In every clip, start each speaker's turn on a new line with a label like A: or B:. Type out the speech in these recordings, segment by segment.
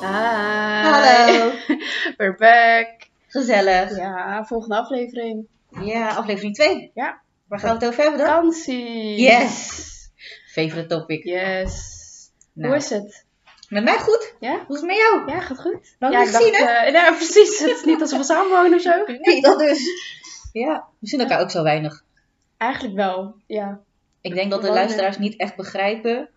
A: Hi.
B: Hallo.
A: We're back.
B: Gezellig.
A: Ja, volgende aflevering.
B: Ja, aflevering 2.
A: Ja.
B: Waar gaan we het over hebben dan?
A: Vakantie.
B: Yes. Favorite topic.
A: Yes.
B: Nou,
A: Hoe is het?
B: Met mij goed.
A: Ja?
B: Hoe is het met jou?
A: Ja, gaat goed.
B: Lang
A: ja,
B: niet gezien, hè?
A: eh, nou, precies. Het is niet dat we samenwonen of zo.
B: Nee, dat dus. Ja, we zien elkaar ook zo weinig.
A: Eigenlijk wel, ja.
B: Ik denk dat de
A: Wonen.
B: luisteraars niet echt begrijpen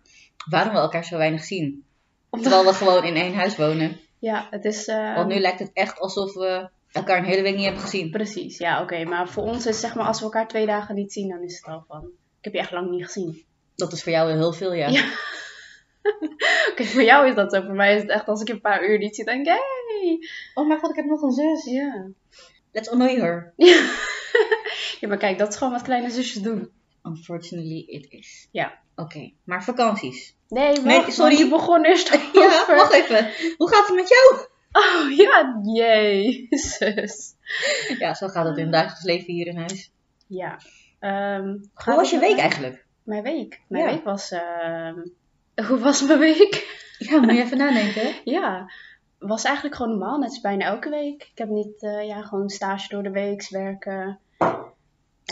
B: waarom we elkaar zo weinig zien. Terwijl we gewoon in één huis wonen.
A: Ja, het is... eh,
B: Want nu lijkt het echt alsof we elkaar een hele week niet hebben gezien.
A: Precies, ja, oké. Maar voor ons is zeg maar, als we elkaar twee dagen niet zien, dan is het al van... Ik heb je echt lang niet gezien.
B: Dat is voor jou heel veel, ja.
A: Ja. Oké, voor jou is dat zo. Voor mij is het echt als ik je een paar uur niet zie, denk ik... Hey.
B: Oh mijn god, ik heb nog een zus.
A: Ja.
B: Let's annoy her.
A: ja, maar kijk, dat is gewoon wat kleine zusjes doen.
B: Unfortunately, it is.
A: Ja.
B: Oké, maar vakanties.
A: Nee, wacht,
B: Nee, sorry.
A: sorry. Je begon eerst
B: Ja,
A: over.
B: wacht even. Hoe gaat het met jou?
A: Oh ja, jezus.
B: Ja, zo gaat het in het dagelijks leven hier in huis.
A: Ja. ehm,
B: Hoe
A: gaat
B: was je
A: het
B: week
A: met-
B: eigenlijk?
A: Mijn week? Mijn
B: Ja.
A: week was... ehm, Hoe was mijn week?
B: Ja, moet je even nadenken. hè?
A: ja. Was eigenlijk gewoon normaal, net als bijna elke week. Ik heb niet, eh, ja, gewoon stage door de week, werken.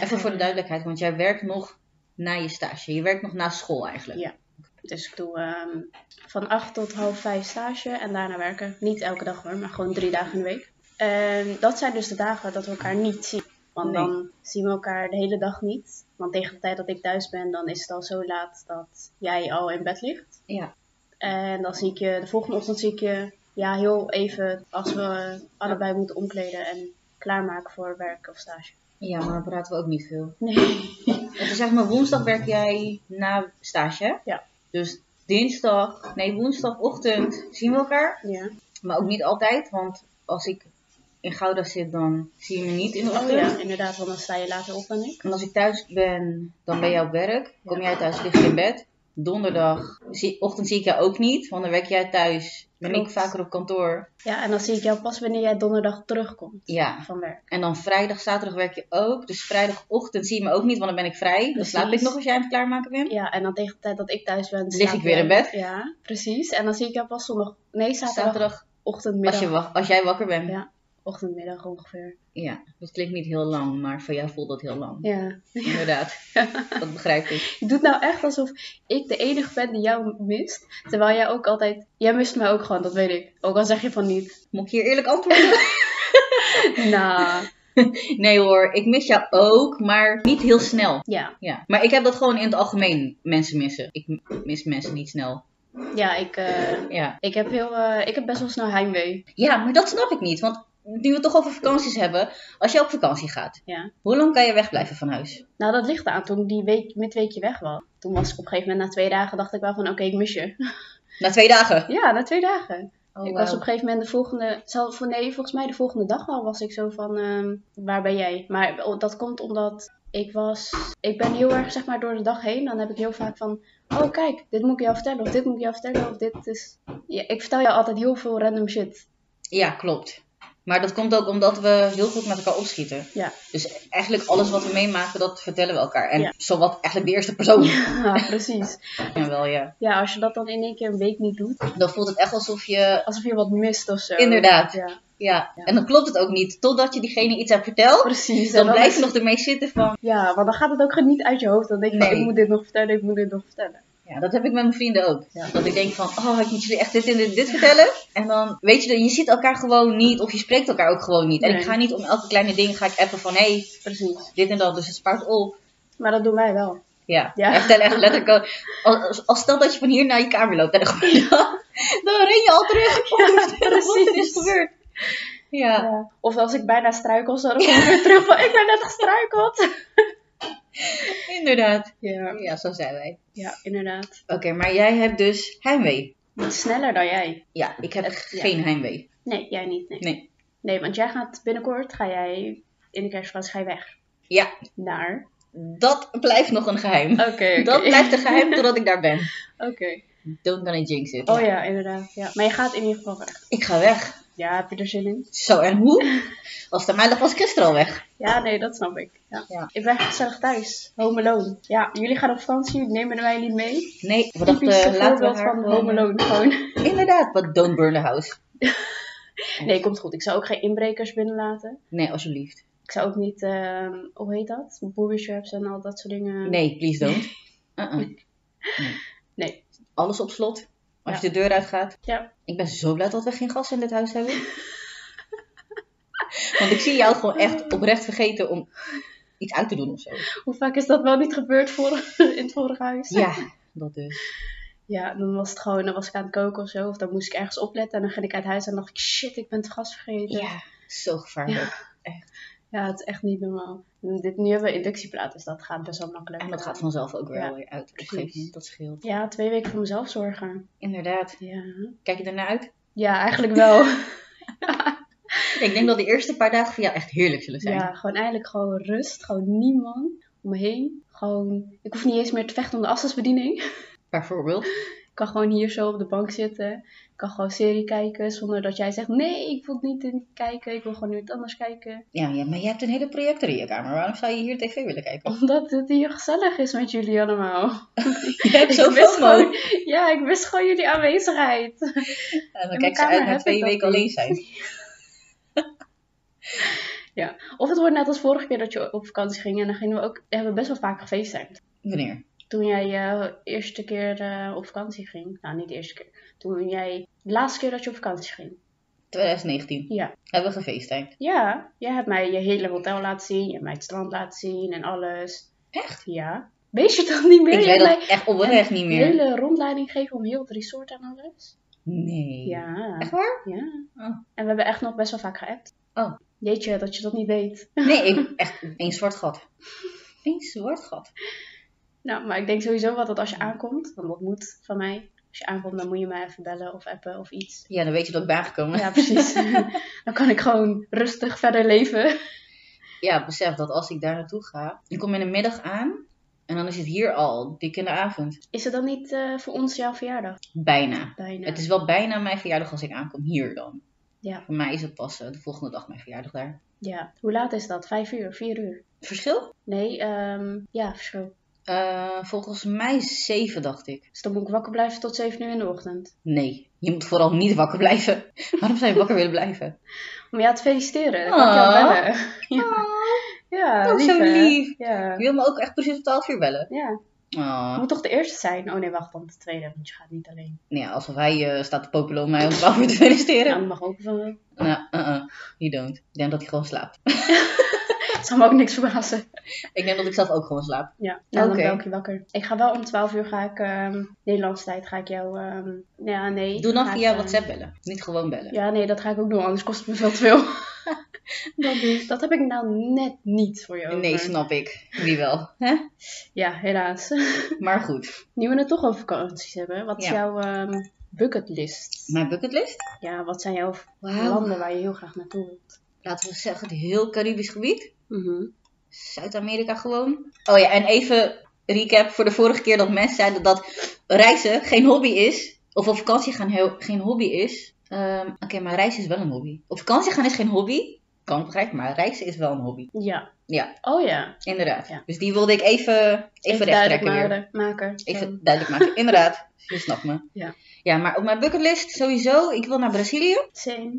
B: Even voor de duidelijkheid, want jij werkt nog na je stage. Je werkt nog na school eigenlijk.
A: Ja. Dus ik doe ehm, van 8 tot half 5 stage en daarna werken. Niet elke dag hoor, maar gewoon drie dagen in de week. En dat zijn dus de dagen dat we elkaar niet zien. Want
B: Nee.
A: dan zien we elkaar de hele dag niet. Want tegen de tijd dat ik thuis ben, dan is het al zo laat dat jij al in bed ligt.
B: Ja.
A: En dan zie ik je, de volgende ochtend zie ik je, ja, heel even als we eh, allebei moeten omkleden en klaarmaken voor werk of stage.
B: Ja, maar dan praten we ook niet veel.
A: Nee.
B: Het is zeg maar woensdag werk jij na stage. hè?
A: Ja.
B: Dus dinsdag, nee woensdagochtend zien we elkaar.
A: Ja.
B: Maar ook niet altijd, want als ik in Gouda zit, dan zie je me niet in de
A: Oh
B: ochtend.
A: ja, inderdaad, want dan sta je later op dan ik.
B: En als ik thuis ben, dan ben jij op werk. Kom jij thuis, lig je in bed. Donderdag, zie, ochtend zie ik jou ook niet, want dan werk jij thuis. Ben
A: Klopt.
B: ik vaker op kantoor.
A: Ja, en dan zie ik jou pas wanneer jij donderdag terugkomt
B: Ja.
A: van werk.
B: En dan vrijdag, zaterdag werk je ook. Dus vrijdagochtend zie je me ook niet, want dan ben ik vrij. Dan
A: Precies.
B: slaap ik nog als jij aan het klaarmaken bent.
A: Ja, en dan tegen de tijd dat ik thuis ben...
B: Lig
A: slaap
B: ik weer in bed?
A: Ja, precies. En dan zie ik jou pas zondag... Nee, zaterdag,
B: Zaterdag, als,
A: ochtendmiddag.
B: je, wa- als jij wakker bent.
A: Ja.
B: Ja.
A: Ochtendmiddag ongeveer.
B: dat klinkt niet heel lang, maar voor jou voelt dat heel lang.
A: Ja.
B: Inderdaad, dat begrijp ik.
A: Je doet nou echt alsof ik de enige ben die jou mist. Terwijl jij ook altijd... Jij mist mij ook gewoon, dat weet ik. Ook al zeg je van niet.
B: Moet ik hier eerlijk antwoorden?
A: Nou,
B: Nee hoor, ik mis jou ook, maar niet heel snel.
A: ja.
B: Ja, maar ik heb dat gewoon in het algemeen, mensen missen. Ik m- mis mensen niet snel.
A: Ja, ik... eh,
B: Ja.
A: ik heb, heel, eh, ik heb best wel snel heimwee.
B: ja, maar dat snap ik niet. Want nu we het toch over vakanties hebben. Als jij op vakantie gaat,
A: Ja.
B: hoe lang kan je wegblijven van huis?
A: Nou, dat ligt aan toen ik die week, midweekje weg was. Toen was ik op een gegeven moment na twee dagen, dacht ik wel van oké, ik mis je.
B: Na twee dagen.
A: Ja, na twee dagen.
B: Oh,
A: ik was op
B: wauw.
A: een gegeven moment de volgende, zelf, voor- nee, volgens mij de volgende dag al was ik zo van, ehm, waar ben jij? Maar o- dat komt omdat ik was, ik ben heel erg zeg maar door de dag heen, dan heb ik heel vaak van, oh kijk, dit moet ik jou vertellen, of dit moet ik jou vertellen, of dit is... Ja, ik vertel jou altijd heel veel random shit.
B: Ja, klopt. Maar dat komt ook omdat we heel goed met elkaar opschieten.
A: Ja.
B: Dus eigenlijk alles wat we meemaken, dat vertellen we elkaar. En
A: Ja.
B: zowat eigenlijk de eerste persoon. Ja.
A: Ja, precies.
B: wel, ja.
A: Ja, als je dat dan in één keer een week niet doet,
B: Dan voelt het echt alsof je...
A: alsof je wat mist of zo.
B: Inderdaad.
A: Ja,
B: Ja. En dan klopt het ook niet. Totdat je diegene iets hebt verteld,
A: precies. En
B: dan blijf
A: is-
B: je nog ermee zitten van...
A: Ja, want dan gaat het ook niet uit je hoofd. Dan denk je, van,
B: Nee.
A: ik moet dit nog vertellen, ik moet dit nog vertellen.
B: Ja, dat heb ik met mijn vrienden ook.
A: Ja.
B: Dat ik denk van, oh, ik moet jullie echt dit en dit, dit vertellen. En dan, weet je, je ziet elkaar gewoon niet. Of je spreekt elkaar ook gewoon niet. En
A: Nee.
B: ik ga niet om elke kleine ding ga ik appen van, hé, hey,
A: Precies.
B: dit en dat. Dus het spaart op.
A: Maar dat doen wij wel.
B: Ja,
A: Ja.
B: ja. vertel echt letterlijk. al- Als, als, als stel dat je van hier naar je kamer loopt en dan, dan ren je al terug. Oh, Wat er is
A: precies.
B: gebeurd. Ja.
A: Ja. Of als ik bijna struikel, dan kom ik weer terug van, ik ben net gestruikeld.
B: inderdaad.
A: Ja,
B: Ja, zo zijn wij.
A: ja inderdaad.
B: Oké, maar jij hebt dus heimwee.
A: Sneller dan jij.
B: Ja, ik heb
A: Het- ja.
B: geen heimwee.
A: Nee, jij niet. Nee.
B: Nee.
A: Nee, want jij gaat binnenkort, ga jij in de kerstvakantie ga je weg.
B: Ja,
A: Naar.
B: dat blijft nog een geheim.
A: Oké, oké.
B: Dat blijft een geheim totdat ik daar ben.
A: Oké.
B: Don't gonna jinx it.
A: Oh ja, inderdaad. Ja. Maar je gaat in ieder geval weg.
B: Ik ga weg.
A: Ja, heb je er zin in?
B: Zo, en hoe? Was de maandag was ik gisteren al weg.
A: Ja, nee, dat snap ik. Ja.
B: Ja.
A: Ik ben gezellig thuis. Home alone. Ja, jullie gaan op vakantie, nemen wij niet mee.
B: Nee, we dachten,
A: Typisch
B: laten we
A: voorbeeld
B: haar
A: van
B: gewoon-
A: home alone gewoon.
B: Inderdaad, wat don't burn the house.
A: Nee, komt goed. Ik zou ook geen inbrekers binnenlaten.
B: Nee, alsjeblieft.
A: Ik zou ook niet, ehm, hoe heet dat? Booby traps en al dat soort dingen.
B: Nee, please don't. Uh-uh.
A: Nee.
B: Alles op slot. Als je de deur uitgaat.
A: Ja,
B: Ik ben zo blij dat we geen gas in dit huis hebben. Want ik zie jou gewoon echt oprecht vergeten om iets aan te doen of zo.
A: hoe vaak is dat wel niet gebeurd voor, in het vorige huis?
B: Ja, dat dus.
A: Ja, dan was het gewoon, dan was ik aan het koken of zo. Of dan moest ik ergens opletten. En dan ging ik uit huis en dacht ik, shit, ik ben het gas vergeten.
B: Ja, zo gevaarlijk.
A: Ja, het is echt niet normaal. Dit, nu hebben we inductieplaat, dus dat gaat best wel makkelijk.
B: En dat gaat vanzelf ook weer
A: Ja,
B: alweer uit. Op een gegeven
A: precies.
B: moment, dat scheelt.
A: Ja, twee weken voor mezelf zorgen.
B: Inderdaad.
A: Ja,
B: Kijk je ernaar uit?
A: ja eigenlijk wel.
B: Ik denk dat de eerste paar dagen voor jou echt heerlijk zullen zijn.
A: ja, gewoon eindelijk gewoon rust. Gewoon niemand om me heen. Gewoon, ik hoef niet eens meer te vechten om de afstandsbediening.
B: Bijvoorbeeld.
A: Ik kan gewoon hier zo op de bank zitten. Ik kan gewoon serie kijken zonder dat jij zegt... Nee, ik wil niet in kijken. Ik wil gewoon nu het anders kijken.
B: Ja, ja, maar je hebt een hele projector in je kamer. Waarom zou je hier tv willen kijken?
A: Omdat het hier gezellig is met jullie allemaal.
B: Je hebt
A: Ik wist
B: zoveel mogelijk.
A: gewoon, ja, ik wist gewoon jullie aanwezigheid.
B: En dan
A: In
B: kijk ze
A: mijn kamer
B: uit naar
A: heb
B: twee
A: ik dat
B: weken
A: niet.
B: alleen zijn.
A: Of het wordt net als vorige keer dat je op vakantie ging. En dan gingen we ook, hebben we best wel vaak gefeesttimed.
B: Wanneer?
A: Toen jij eh, eerste keer eh, op vakantie ging. Nou, niet de eerste keer. Toen jij, de laatste keer dat je op vakantie ging.
B: 2019.
A: Ja.
B: Hebben we gefeesttimed.
A: Ja, jij hebt mij je hele hotel laten zien. Je hebt mij het strand laten zien en alles.
B: Echt?
A: Ja. Weet je dat niet meer?
B: Ik
A: Je
B: weet
A: hebt mij
B: dat echt oprecht niet
A: een
B: meer.
A: hele rondleiding gegeven om heel het resort en alles.
B: Nee.
A: Ja.
B: Echt waar?
A: Ja.
B: Oh.
A: En we hebben echt nog best wel vaak geappt.
B: Oh.
A: Jeetje, dat je dat niet weet.
B: Nee, ik, echt één zwart gat. Eén zwart gat.
A: Nou, maar ik denk sowieso wel dat als je aankomt, want dat moet van mij. Als je aankomt, dan moet je mij even bellen of appen of iets.
B: Ja, dan weet je dat ik ben aangekomen. Ja.
A: Ja, precies. dan kan ik gewoon rustig verder leven.
B: besef dat als ik daar naartoe ga, ik kom in de middag aan en dan is het hier al dik in de avond.
A: Is het dan niet eh, voor ons jouw verjaardag?
B: Bijna.
A: Bijna.
B: Het is wel bijna mijn verjaardag als ik aankom hier dan.
A: Ja.
B: Voor mij is het pas eh, de volgende dag mijn verjaardag daar.
A: Ja. Hoe laat is dat? Vijf uur? Vier uur?
B: Verschil?
A: Nee, ehm, ja, verschil.
B: Eh, volgens mij zeven, dacht ik.
A: Dus dan moet ik wakker blijven tot zeven uur in de ochtend.
B: Nee, je moet vooral niet wakker blijven. Waarom zou je wakker willen blijven?
A: Om jou te feliciteren. Dan kan ik jou
B: Oh.
A: bellen. Ja,
B: dat is zo
A: lief, hè?
B: lief.
A: Ja.
B: Je wil me ook echt precies op 12 uur bellen.
A: ja.
B: Oh.
A: Ik moet toch de eerste zijn? Oh nee, wacht, dan de tweede, want je gaat niet alleen.
B: Nee, alsof hij eh, staat te popelen om mij om 12 uur te feliciteren.
A: Ja, dat mag ook van...
B: Nou, uh-uh, you don't. Ik denk dat hij gewoon slaapt.
A: Het zal me ook niks verbazen.
B: Ik denk dat ik zelf ook gewoon slaap.
A: Ja, nou,
B: Oké.
A: dan bel ik je wakker. Ik ga wel om 12 uur, ga ik, ehm Nederlandse tijd, ga ik jou, ehm, ja, nee.
B: Doe dan
A: ga ik,
B: via
A: ehm,
B: WhatsApp bellen, niet gewoon bellen.
A: Ja, nee, dat ga ik ook doen, anders kost het me veel te veel.
B: dat dus.
A: Dat heb ik nou net niet voor je over.
B: Nee, snap ik. Wie wel. Hè?
A: Ja, helaas.
B: Maar goed.
A: Nu we het toch over vakanties hebben, wat is
B: Ja.
A: jouw ehm bucketlist?
B: Mijn bucketlist?
A: Ja, wat zijn jouw
B: Wauw.
A: landen waar je heel graag naartoe wilt?
B: Laten we zeggen, het heel Caribisch gebied.
A: Mhm.
B: Zuid-Amerika gewoon. Oh ja, en even recap voor de vorige keer dat mensen zeiden dat reizen geen hobby is. Of op vakantie gaan heel, geen hobby is. Ehm, Oké, maar reizen is wel een hobby. Op vakantie gaan is geen hobby. Kan ik begrijpen, maar reizen is wel een hobby.
A: Ja.
B: Ja.
A: Oh ja.
B: Inderdaad.
A: Ja.
B: Dus die wilde ik even, even,
A: Even
B: recht
A: duidelijk
B: trekken weer.
A: maken. maken.
B: Even duidelijk maken. Inderdaad. Je snapt me.
A: Ehm. Ja.
B: ja, maar op mijn bucketlist sowieso. Ik wil naar Brazilië.
A: Same.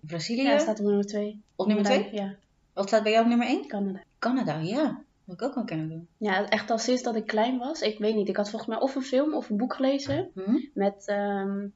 B: Brazilië.
A: Ja, staat op nummer 2.
B: Op nummer 2.
A: Ja,
B: Wat staat bij jou op nummer 1?
A: Canada.
B: Canada, ja. Wil ik ook wel Canada.
A: Ja, echt al sinds dat ik klein was. Ik weet niet. Ik had volgens mij of een film of een boek gelezen.
B: Hm?
A: Met ehm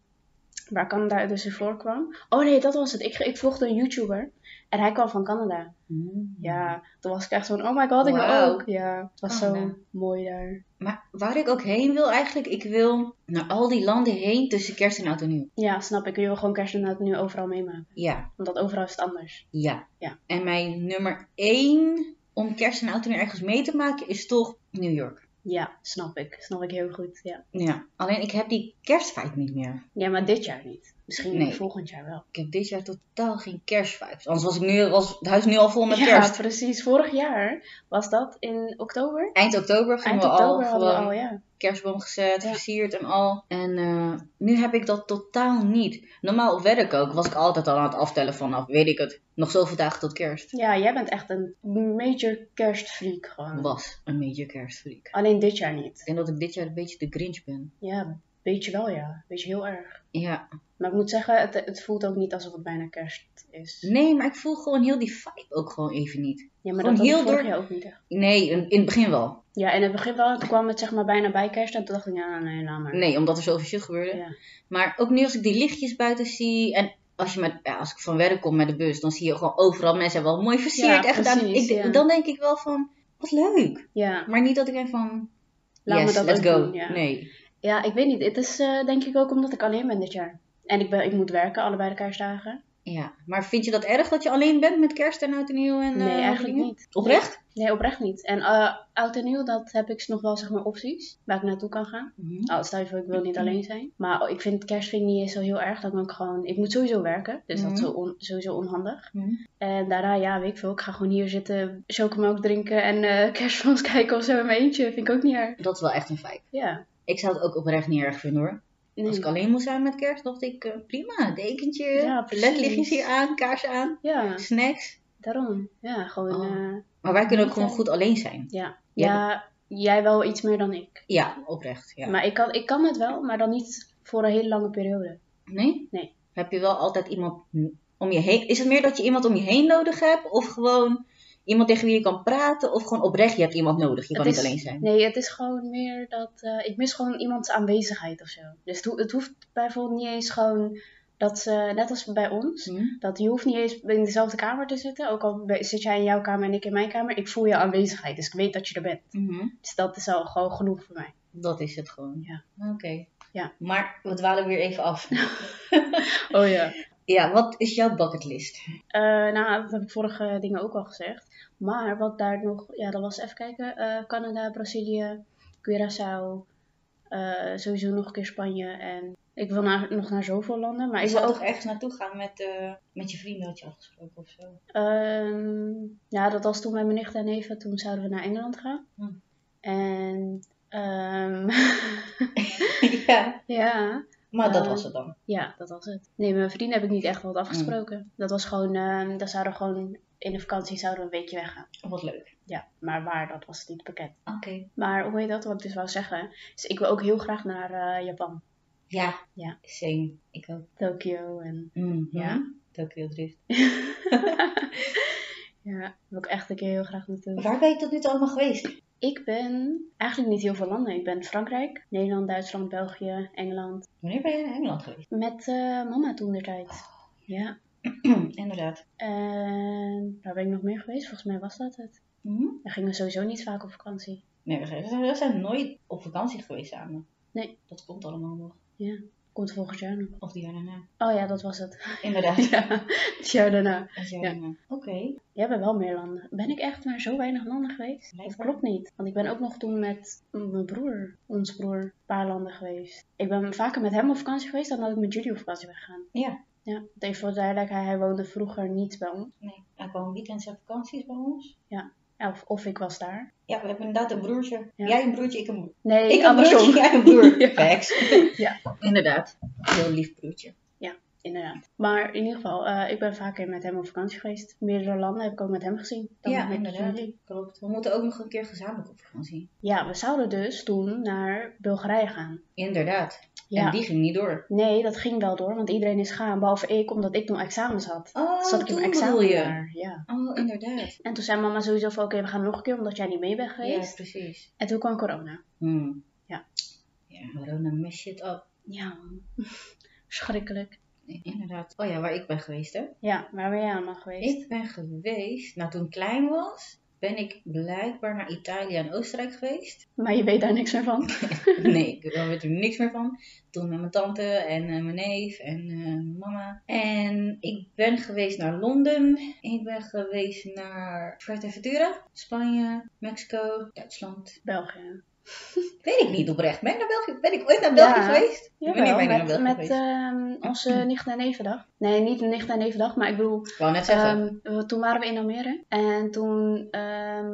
A: waar Canada dus in voor kwam. Oh nee, dat was het. Ik, ik volgde een YouTuber. En hij kwam van Canada.
B: Hm.
A: Ja, toen was ik echt zo'n, oh my god, ik wil
B: Mm. Wauw. Oh,
A: ook. Ja, het was
B: Canada.
A: zo mooi daar.
B: Maar waar ik ook heen wil eigenlijk, ik wil naar al die landen heen tussen kerst en oud en nieuw.
A: Ja, snap ik. Je wil gewoon kerstnacht nu overal meemaken.
B: Ja,
A: Want overal is het anders.
B: ja.
A: Ja.
B: En mijn nummer één om kerst en oud en nieuw ergens mee te maken is toch New York.
A: Ja, snap ik. Snap ik heel goed, ja.
B: Ja, alleen ik heb die kerstfight niet meer.
A: Ja, maar dit jaar niet. Misschien
B: Nee.
A: volgend jaar wel.
B: Ik heb dit jaar totaal geen kerstvibes. Anders was, ik nu, was het huis nu al vol met
A: ja,
B: kerst.
A: precies. Vorig jaar was dat in oktober.
B: Eind oktober gingen
A: Eind
B: we al
A: oktober hadden
B: gewoon
A: we al, ja.
B: kerstboom gezet,
A: Ja.
B: versierd en al. En eh, nu heb ik dat totaal niet. Normaal op werk ook was ik altijd al aan het aftellen vanaf, weet ik het, nog zoveel dagen tot kerst.
A: Ja, jij bent echt een major kerstfreak gewoon.
B: Was een beetje kerstfreak.
A: Alleen dit jaar niet.
B: Ik denk dat ik dit jaar een beetje de Grinch ben.
A: Ja, weet je wel ja. Weet je heel erg.
B: Ja.
A: Maar ik moet zeggen, het, het voelt ook niet alsof het bijna kerst is.
B: Nee, maar ik voel gewoon heel die vibe ook gewoon even niet.
A: Ja, maar
B: Gewoon
A: dat had ik
B: heel
A: vorig
B: door-
A: jaar ook niet echt.
B: Nee, in, in het begin wel.
A: Ja, in het begin wel. Toen kwam het zeg maar bijna bij kerst. En toen dacht ik, ja, nee, laat maar.
B: Nee, omdat er zoveel shit gebeurde.
A: Ja.
B: Maar ook nu als ik die lichtjes buiten zie en als, je met, ja, als ik van werk kom met de bus, dan zie je gewoon overal mensen wel mooi versierd.
A: Ja,
B: echt aan-
A: precies,
B: ik,
A: ja.
B: Dan denk ik wel van, wat leuk.
A: Ja,
B: Maar niet dat ik denk van,
A: laat
B: yes,
A: me dat
B: let's
A: ook
B: go.
A: doen. Ja.
B: Nee.
A: ja, ik weet niet. Het is eh, denk ik ook omdat ik alleen ben dit jaar. En ik, ben, ik moet werken, allebei de kerstdagen.
B: Ja. Maar vind je dat erg dat je alleen bent met kerst en oud en nieuw? En,
A: nee,
B: eh,
A: eigenlijk
B: dingen?
A: niet.
B: Oprecht?
A: Nee, oprecht niet. En eh, oud en nieuw, dat heb ik nog wel zeg maar opties. Waar ik naartoe kan gaan.
B: Mhm.
A: Oh, stel je voor, ik wil niet alleen zijn. Maar ik vind kerst vind ik niet eens zo heel erg. Dan kan ik gewoon... Ik moet sowieso werken. Dus dat is
B: Mhm.
A: zo on- sowieso onhandig.
B: Mhm.
A: En daarna, ja, weet ik veel. Ik ga gewoon hier zitten, chocomelk drinken en eh kerstfilms kijken of zo in mijn eentje. Vind ik ook niet erg.
B: Dat is wel echt een feit.
A: Ja.
B: Ik zou het ook oprecht niet erg vinden hoor.
A: Nee.
B: Als ik alleen moest zijn met kerst, dacht ik, eh, prima, dekentje,
A: Ja, precies.
B: ledlichtjes hier aan, kaars aan,
A: Ja,
B: snacks.
A: daarom. Ja, gewoon...
B: Oh.
A: eh,
B: Maar wij kunnen ook gewoon
A: Ja.
B: goed alleen zijn.
A: ja.
B: Jij-
A: Ja, jij wel iets meer dan ik.
B: Ja, oprecht. Ja.
A: Maar ik kan, ik kan het wel, maar dan niet voor een hele lange periode.
B: Nee?
A: Nee.
B: Heb je wel altijd iemand om je heen? Is het meer dat je iemand om je heen nodig hebt? Of gewoon iemand tegen wie je kan praten? Of gewoon oprecht, je hebt iemand nodig. Je
A: Het
B: kan
A: is-
B: niet alleen zijn.
A: Nee, het is gewoon meer dat... eh, ik mis gewoon iemands aanwezigheid of zo. Dus het, ho- het hoeft bijvoorbeeld niet eens gewoon dat ze... Net als bij ons...
B: Hm?
A: Dat je hoeft niet eens in dezelfde kamer te zitten. Ook al be- zit jij in jouw kamer en ik in mijn kamer. Ik voel je aanwezigheid. Dus ik weet dat je er bent.
B: Mhm.
A: Dus dat is al gewoon genoeg voor mij.
B: Dat is het gewoon.
A: Ja.
B: Oké.
A: Ja.
B: Maar we dwalen weer even af.
A: Oh ja.
B: ja, wat is jouw bucketlist?
A: nou, dat heb ik vorige dingen ook al gezegd. Maar wat daar nog... Ja, dat was even kijken. eh, Canada, Brazilië, Curaçao. eh, sowieso nog een keer Spanje. En ik wil naar, nog naar zoveel landen. Maar ik wil ook...
B: ergens naartoe gaan met, eh, met je vrienden, had je afgesproken of zo.
A: ehm, ja, dat was toen met mijn nicht en neven. Toen zouden we naar Engeland gaan.
B: Hm.
A: En... ehm,
B: ja,
A: ja...
B: maar dat
A: Eh,
B: was het dan.
A: Ja, dat was het. Nee, met mijn vrienden heb ik niet echt wat afgesproken. Dat was gewoon, ehm daar zouden we gewoon in de vakantie zouden we een weekje weggaan.
B: Wat leuk.
A: Ja, maar waar, dat was niet bekend.
B: Oké.
A: Maar hoe heet dat, wat ik dus wou zeggen? Dus ik wil ook heel graag naar eh, Japan.
B: Ja.
A: Ja. Mhm.
B: Same. Ik ook.
A: Tokio en...
B: Ja. Tokyo Drift.
A: Ja, daar wil ik echt een keer heel graag naartoe.
B: Waar ben je tot nu toe allemaal geweest?
A: Ik ben eigenlijk niet heel veel landen. Ik ben Frankrijk, Nederland, Duitsland, België, Engeland.
B: Wanneer ben je in Engeland geweest?
A: Met eh, mama toen der tijd. Ja.
B: Inderdaad.
A: En waar ben ik nog meer geweest? Volgens mij was dat het. We gingen sowieso niet vaak op vakantie.
B: Nee, we zijn, we zijn nooit op vakantie geweest samen.
A: Nee.
B: Dat komt allemaal nog.
A: Komt volgend jaar nog.
B: Of die jaar daarna.
A: Oh ja, dat was het.
B: Inderdaad.
A: Ja, het jaar daarna.
B: Het jaar
A: Ja.
B: daarna. Oké.
A: Jij bent wel meer landen. Ben ik echt naar zo weinig landen geweest? Dat
B: Blijkbaar.
A: klopt niet. Want ik ben ook nog toen met mijn broer, ons broer, een paar landen geweest. Ik ben vaker met hem op vakantie geweest dan dat ik met jullie op vakantie ben gegaan.
B: Ja.
A: Ja, want even voor de duidelijkheid, hij woonde vroeger niet bij ons.
B: Nee, er komen weekends en vakanties bij ons.
A: Of, of ik was daar.
B: Ja, we hebben inderdaad een broertje.
A: Ja.
B: Jij een broertje, ik een broer.
A: Nee,
B: ik een
A: andersom.
B: broertje, jij een broer.
A: Ja.
B: Facts.
A: Ja.
B: Inderdaad. Heel lief broertje.
A: Inderdaad. Maar in ieder geval, eh, ik ben vaker met hem op vakantie geweest. Meerdere landen heb ik ook met hem gezien. Dan
B: ja,
A: met
B: inderdaad.
A: jullie.
B: Klopt. We moeten ook nog een keer gezamenlijk op vakantie.
A: Ja, we zouden dus toen naar Bulgarije gaan.
B: Inderdaad.
A: Ja.
B: En die ging niet door.
A: Nee, dat ging wel door, want iedereen is gaan, behalve ik, omdat ik toen examens had.
B: Oh,
A: Toen zat ik in mijn
B: bedoel
A: examen
B: je.
A: daar, ja.
B: Oh, inderdaad.
A: En toen zei mama sowieso van, oké, we gaan nog een keer, omdat jij niet mee bent geweest.
B: Ja, precies.
A: En toen kwam corona.
B: Hmm.
A: Ja.
B: Ja, Rona mess shit up.
A: Ja, man. Schrikkelijk.
B: Nee, Inderdaad. Oh ja, waar ik ben geweest, hè?
A: Ja, waar ben jij allemaal geweest?
B: Ik ben geweest, nou toen ik klein was, ben ik blijkbaar naar Italië en Oostenrijk geweest.
A: Maar je weet daar niks meer van.
B: Nee, ik weet er niks meer van. Toen met mijn tante en eh, mijn neef en eh, mijn mama. En ik ben geweest naar Londen. Ik ben geweest naar Fuerteventura, Spanje, Mexico, Duitsland.
A: België.
B: Weet ik niet oprecht. Ben ik naar België, ben ik ooit naar België
A: Ja.
B: geweest? Wanneer ben ik naar
A: met,
B: België
A: met
B: geweest?
A: ehm, onze nicht- en nevendag. Nee, niet nicht- en nevendag, maar ik bedoel,
B: Ik wou net zeggen.
A: ehm, we- toen waren we in Almere. En toen, ehm,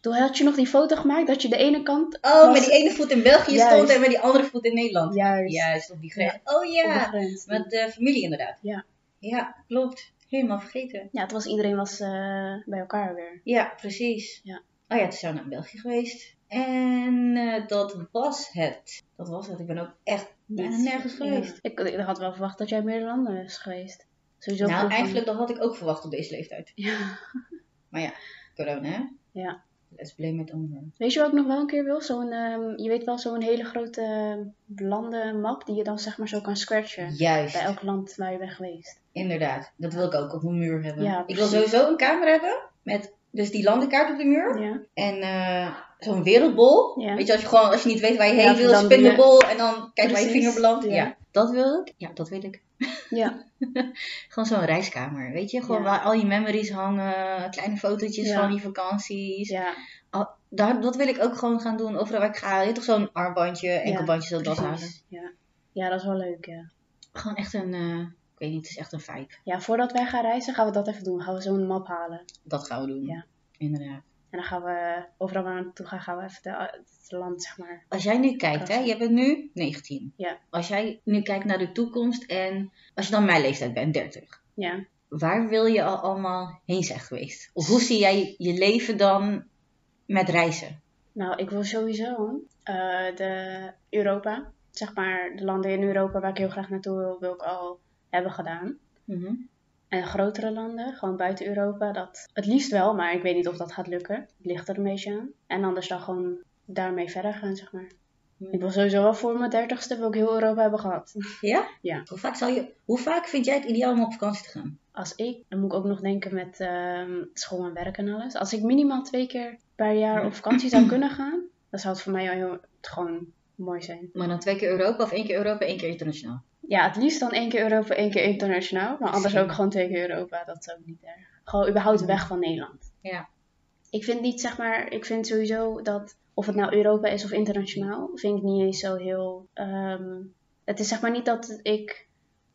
A: toen had je nog die foto gemaakt dat je de ene kant...
B: oh,
A: was-
B: met die ene voet in België
A: Juist.
B: stond en met die andere voet in Nederland.
A: Juist,
B: Juist, op die grens. Oh
A: op de
B: ja,
A: grens.
B: met de familie inderdaad.
A: Ja.
B: Ja, klopt. Helemaal vergeten.
A: Ja, het was, iedereen was eh, bij elkaar weer.
B: Ja, precies.
A: Ja.
B: Oh ja, toen zijn we naar België geweest. En eh, dat was het. Dat was het. Ik ben ook echt bijna
A: Niet-
B: nergens geweest.
A: Dus, Ja. Ik, ik had wel verwacht dat jij in meerdere landen was geweest. Sowieso
B: Nou,
A: vroeg van-
B: eigenlijk dat had ik ook verwacht op deze leeftijd.
A: Ja.
B: Maar ja, corona. hè?
A: Ja.
B: Let's blame it on her.
A: Weet je wat ik nog wel een keer wil? Zo'n, ehm, je weet wel, zo'n hele grote eh, landenmap die je dan zeg maar zo kan scratchen.
B: Juist,
A: Bij elk land waar je bent geweest.
B: inderdaad. Dat wil ik ook op mijn muur hebben.
A: Ja,
B: ik wil
A: precies.
B: sowieso een kamer hebben met dus die landenkaart op de muur.
A: Ja.
B: En eh, zo'n wereldbol.
A: Ja.
B: Weet je, als je gewoon als je niet weet waar je heen
A: Ja,
B: wil,
A: dan
B: spin
A: doe
B: de
A: je-
B: bol en dan kijk waar je
A: Precies,
B: vinger belandt.
A: ja.
B: Ja. dat wil ik. Ja, dat wil ik.
A: Ja.
B: Gewoon zo'n reiskamer, weet je? Gewoon
A: Ja.
B: waar al je memories hangen, kleine fotootjes
A: Ja.
B: van je vakanties.
A: ja.
B: Daar, dat wil ik ook gewoon gaan doen, overal waar ik ga. Je hebt toch zo'n armbandje, enkelbandje, zo'n dat houden.
A: Precies, Ja. ja, dat is wel leuk, ja.
B: Gewoon echt een, eh, ik weet niet, het is echt een vibe.
A: Ja, voordat wij gaan reizen gaan we dat even doen. Gaan we zo'n map halen.
B: Dat gaan we doen.
A: Ja.
B: Inderdaad.
A: En dan gaan we, overal waar we naartoe gaan, gaan we even de, het land, zeg maar.
B: Als jij nu kijkt, hè,
A: Prachtig.
B: je bent nu 19.
A: Ja.
B: Als jij nu kijkt naar de toekomst en als je dan mijn leeftijd bent, 30.
A: Ja.
B: Waar wil je al allemaal heen zijn geweest? Of hoe zie jij je leven dan met reizen?
A: Nou, ik wil sowieso eh, de Europa, zeg maar de landen in Europa waar ik heel graag naartoe wil, wil ik al hebben gedaan.
B: Mhm.
A: En grotere landen, gewoon buiten Europa, dat het liefst wel, maar ik weet niet of dat gaat lukken. Het ligt er een beetje aan. En anders dan gewoon daarmee verder gaan, zeg maar. Ik wil sowieso wel voor mijn dertigste wil ik heel Europa hebben gehad.
B: Ja?
A: Ja.
B: Hoe vaak, zou je, hoe vaak vind jij het ideaal om op vakantie te gaan?
A: Als ik, dan moet ik ook nog denken met ehm, school en werk en alles. Als ik minimaal twee keer per jaar op vakantie zou kunnen gaan, dan zou het voor mij al heel, gewoon mooi zijn.
B: Maar dan twee keer Europa of één keer Europa, één keer internationaal?
A: Ja, het liefst dan één keer Europa, één keer internationaal. Maar anders ook gewoon twee keer Europa, dat is ook niet erg. Gewoon überhaupt weg van Nederland.
B: Mm. Ja.
A: Ik vind niet, zeg maar, ik vind sowieso dat, of het nou Europa is of internationaal, vind ik niet eens zo heel... ehm, het is zeg maar niet dat ik,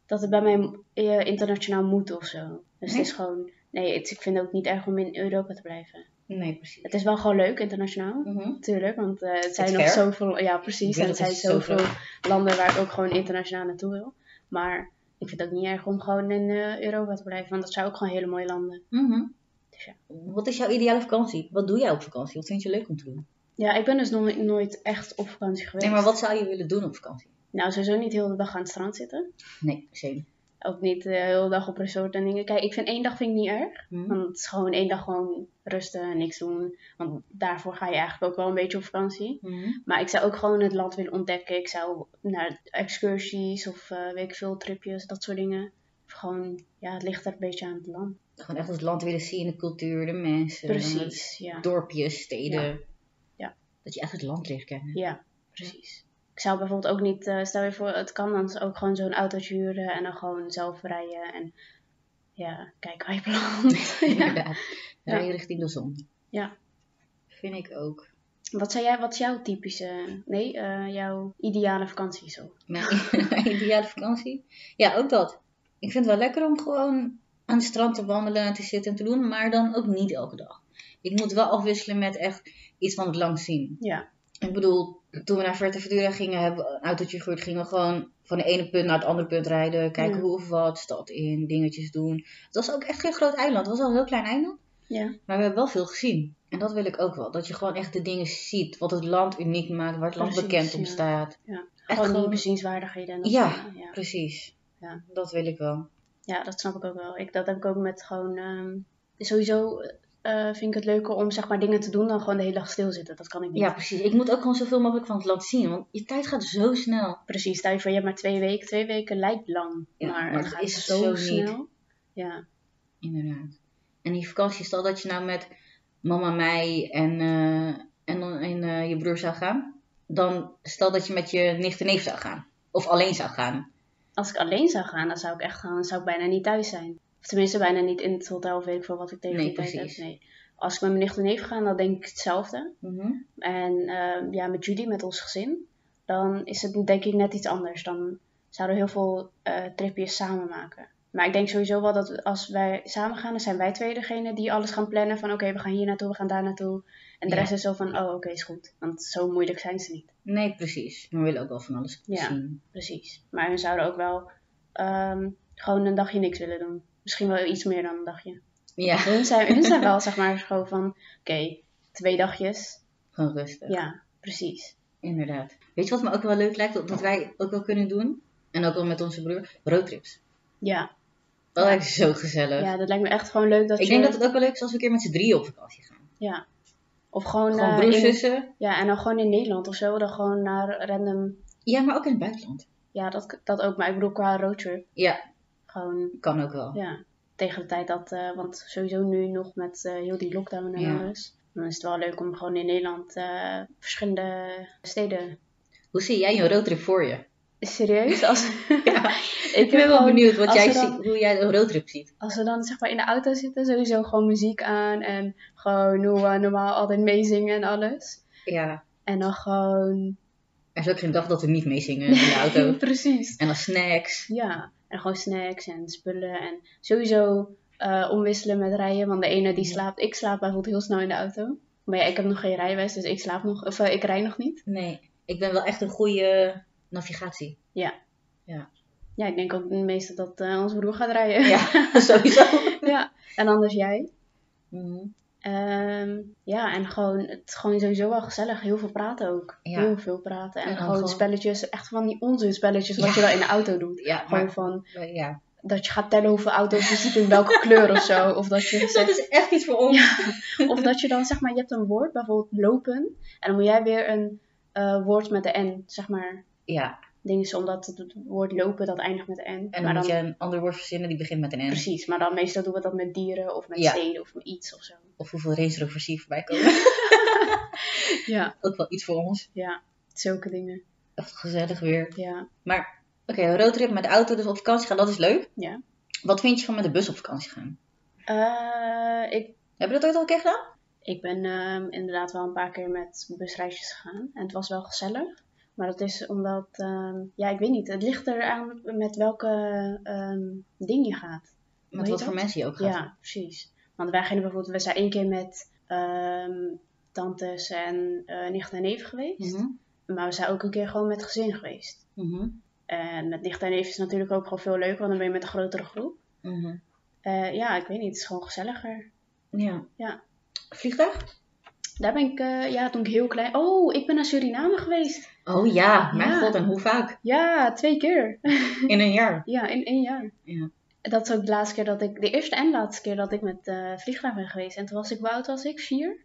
A: dat het bij mij eh, internationaal moet of zo. Dus
B: Nee?
A: het is gewoon, nee, het, ik vind het ook niet erg om in Europa te blijven.
B: Nee, precies.
A: Het is wel gewoon leuk, internationaal.
B: Mhm.
A: Natuurlijk, want eh, het zijn
B: is
A: nog
B: ver.
A: zoveel. Ja, precies.
B: De
A: En het zijn
B: wereld is zo
A: zoveel landen waar ik ook gewoon internationaal naartoe wil. Maar ik vind het ook niet erg om gewoon in eh, Europa te blijven, want dat zijn ook gewoon hele mooie landen.
B: Mhm.
A: Dus ja.
B: Wat is jouw ideale vakantie? Wat doe jij op vakantie? Wat vind je leuk om te doen?
A: Ja, ik ben dus nog nooit echt op vakantie geweest.
B: Nee, maar wat zou je willen doen op vakantie?
A: Nou, sowieso niet heel de dag aan het strand zitten.
B: Nee, zeker.
A: Ook niet eh, de hele dag op resort en dingen. Kijk, ik vind één dag vind ik niet erg.
B: Hm?
A: Want het is gewoon één dag gewoon rusten, niks doen. Want daarvoor ga je eigenlijk ook wel een beetje op vakantie.
B: Mhm.
A: Maar ik zou ook gewoon het land willen ontdekken. Ik zou naar excursies of eh, weet ik veel, tripjes, dat soort dingen. Of gewoon, ja, het ligt er een beetje aan het land.
B: Gewoon echt het land willen zien, de cultuur, de mensen.
A: Precies, ja.
B: Dorpjes, steden.
A: Ja. Ja.
B: Dat je echt het land leert kennen.
A: Ja, precies. Ik zou bijvoorbeeld ook niet, eh, stel je voor, het kan dan ook gewoon zo'n autootje huren en dan gewoon zelf rijden en ja, kijken waar je belandt. ja.
B: Inderdaad. Rij je richting de zon.
A: Ja.
B: Vind ik ook.
A: Wat, zou jij, wat is jouw typische, nee, eh, jouw ideale vakantie zo?
B: Mijn, mijn ideale vakantie. Ja, ook dat. Ik vind het wel lekker om gewoon aan het strand te wandelen en te zitten en te doen, maar dan ook niet elke dag. Ik moet wel afwisselen met echt iets van het lang zien.
A: Ja,
B: Ik bedoel, toen we naar Verteventura gingen, hebben we een autootje gehuurd, gingen we gewoon van de ene punt naar het andere punt rijden, kijken
A: Ja.
B: hoe of wat, stad in, dingetjes doen. Het was ook echt geen groot eiland, het was wel een heel klein eiland.
A: ja,
B: Maar we hebben wel veel gezien. En dat wil ik ook wel. Dat je gewoon echt de dingen ziet. Wat het land uniek maakt. Waar het land
A: Precies,
B: bekend om
A: ja.
B: staat.
A: ja.
B: Echt
A: Gewoon die
B: gewoon...
A: bezienswaardigheden en dat
B: Ja.
A: soort dingen, ja.
B: Precies.
A: Ja.
B: Dat wil ik wel.
A: Ja, dat snap ik ook wel. Ik, dat heb ik ook met gewoon. ehm, sowieso eh, vind ik het leuker om zeg maar dingen te doen dan gewoon de hele dag stilzitten. Dat kan ik niet.
B: Ja, precies. Ik moet ook gewoon zoveel mogelijk van het land zien. Want je tijd gaat zo snel.
A: Precies, stel je voor, je hebt maar twee weken. Twee weken lijkt lang,
B: Ja,
A: maar,
B: maar
A: het
B: dat
A: gaat
B: is
A: zo
B: zo niet.
A: snel. Ja,
B: Inderdaad. En die vakantie, stel dat je nou met mama, mij en, eh, en, dan- en eh, je broer zou gaan. Dan stel dat je met je nicht en neef zou gaan. Of alleen zou gaan.
A: als ik alleen zou gaan, dan zou ik echt gaan, dan zou ik bijna niet thuis zijn. Of tenminste, bijna niet in het hotel of weet ik veel wat ik tegen
B: Nee,
A: die tijd heb.
B: precies.
A: Nee. Als ik met mijn nicht en neef ga, dan denk ik hetzelfde.
B: Mhm.
A: En ehm, ja, met Judy, met ons gezin, dan is het denk ik net iets anders. Dan zouden we heel veel eh, tripjes samen maken. Maar ik denk sowieso wel dat als wij samen gaan, dan zijn wij twee degene die alles gaan plannen. Van oké, we gaan hier naartoe, we gaan daar naartoe. En de
B: Ja.
A: rest is zo van, oh oké, is goed. Want zo moeilijk zijn ze niet.
B: Nee, precies. We willen ook wel van alles
A: Ja.
B: zien.
A: Precies. Maar we zouden ook wel ehm, gewoon een dagje niks willen doen. Misschien wel iets meer dan een dagje.
B: Ja,
A: Hun zijn, hun zijn wel zeg maar gewoon van, oké, twee dagjes.
B: gewoon rustig.
A: Ja, precies.
B: Inderdaad. Weet je wat me ook wel leuk lijkt, dat wij ook wel kunnen doen? En ook wel met onze broer, roadtrips.
A: Ja.
B: Dat
A: Ja.
B: lijkt me zo gezellig.
A: ja, dat lijkt me echt gewoon leuk dat
B: Eh, ik
A: je...
B: denk dat het ook wel leuk is als we een keer met z'n drieën op vakantie gaan.
A: Ja. Of gewoon,
B: Gewoon
A: eh,
B: broers,
A: in-
B: zussen.
A: Ja, en dan gewoon in Nederland of zo. Dan gewoon naar random...
B: Ja, maar ook in het buitenland.
A: Ja, dat, dat ook. Maar ik bedoel qua roadtrip.
B: Ja,
A: Gewoon,
B: kan ook wel.
A: ja. Tegen de tijd dat... eh, want sowieso nu nog met eh, heel die lockdown en
B: Ja.
A: alles. Dan is het wel leuk om gewoon in Nederland eh, verschillende steden...
B: Hoe zie jij een roadtrip voor je?
A: Serieus? Als...
B: Ja.
A: heb
B: Ik ben wel
A: gewoon-
B: benieuwd wat
A: als
B: jij
A: we dan-
B: ziet, hoe jij een roadtrip ziet.
A: Als we dan zeg maar in de auto zitten, sowieso gewoon muziek aan. En gewoon hoe we normaal altijd meezingen en alles.
B: Ja.
A: En dan gewoon...
B: Er is ook geen dag dat we niet meezingen in de auto.
A: Precies.
B: en dan snacks.
A: Ja, en gewoon snacks en spullen en sowieso eh, omwisselen met rijden. Want de ene die slaapt, ik slaap bijvoorbeeld heel snel in de auto. Maar ja, ik heb nog geen rijbewijs, dus ik slaap nog, of eh, ik rij nog niet.
B: Nee, ik ben wel echt een goede navigatie.
A: Ja, ik denk ook meestal dat eh, onze broer gaat rijden.
B: Ja, sowieso.
A: Ja. En anders jij.
B: Mhm.
A: Ehm, ja, en gewoon, het is gewoon sowieso wel gezellig. Heel veel praten ook.
B: Ja.
A: Heel veel praten. En,
B: En dan
A: gewoon,
B: gewoon-
A: spelletjes, echt van die onzinspelletjes wat
B: Ja.
A: je wel in de auto doet.
B: Ja,
A: Gewoon
B: maar
A: van,
B: eh, ja.
A: dat je gaat tellen hoeveel auto's je ziet in welke kleur of zo. Of dat je zegt,
B: Dus dat is echt iets voor ons.
A: Of dat je dan zeg maar, je hebt een woord, bijvoorbeeld lopen, en dan moet jij weer een eh, woord met de N, zeg maar.
B: Ja,
A: Dingen is omdat het woord lopen dat eindigt met de N.
B: en dan
A: maar
B: moet je een ander woord verzinnen die begint met een N.
A: Precies, maar dan meestal doen we dat met dieren of met
B: Ja.
A: steden of met iets of zo.
B: Of hoeveel Range Rovers hier voorbij komen.
A: Ja,
B: Ook wel iets voor ons.
A: ja, zulke dingen.
B: Echt gezellig weer.
A: Ja.
B: Maar, oké, een roadtrip met de auto, dus op vakantie gaan, dat is leuk.
A: Ja.
B: Wat vind je van met de bus op vakantie gaan?
A: Eh, ik,
B: Heb je dat ooit al een keer gedaan?
A: ik ben ehm, inderdaad wel een paar keer met busreisjes gegaan en het was wel gezellig. Maar dat is omdat, ehm, ja, ik weet niet, het ligt eraan met welke ehm, ding je gaat.
B: Met
A: heet
B: wat
A: dat?
B: voor mensen je ook gaat.
A: Ja, precies. Want wij gingen bijvoorbeeld, we zijn één keer met ehm, tantes en eh nicht en neef geweest.
B: Mhm.
A: Maar we zijn ook een keer gewoon met gezin geweest.
B: Mhm.
A: En met nicht en neef is natuurlijk ook gewoon veel leuker, want dan ben je met een grotere groep.
B: Mhm.
A: Eh, ja, ik weet niet, het is gewoon gezelliger.
B: Ja.
A: Ja.
B: Vliegtuig?
A: Daar ben ik, eh, ja, toen ik heel klein... Oh, ik ben naar Suriname geweest.
B: Oh ja, mijn
A: Ja.
B: god, en hoe vaak?
A: Ja, twee keer.
B: In een jaar.
A: ja, in één jaar.
B: Ja.
A: Dat is ook de laatste keer dat ik, de eerste en laatste keer dat ik met eh vliegtuig ben geweest. En toen was ik, hoe oud was ik? Vier?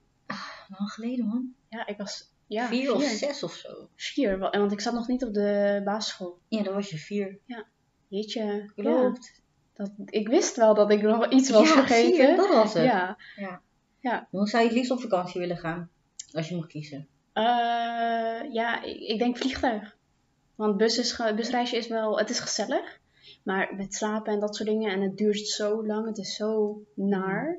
B: Lang geleden, man.
A: Ja, ik was, ja,
B: vier, of zes of zo.
A: Vier, wa- want ik zat nog niet op de basisschool.
B: Ja, dan was je vier.
A: Jeetje. Ja,
B: Klopt.
A: dat, ik wist wel dat ik nog iets was
B: Oh Ja,
A: vergeten.
B: zie je, dat was het.
A: ja.
B: Hoe zou je het liefst op vakantie willen gaan? Als je moet kiezen.
A: Eh, ja, ik, ik denk vliegtuig. Want bus is, ge- busreisje is wel, het is gezellig. Maar met slapen en dat soort dingen. En het duurt zo lang. Het is zo naar.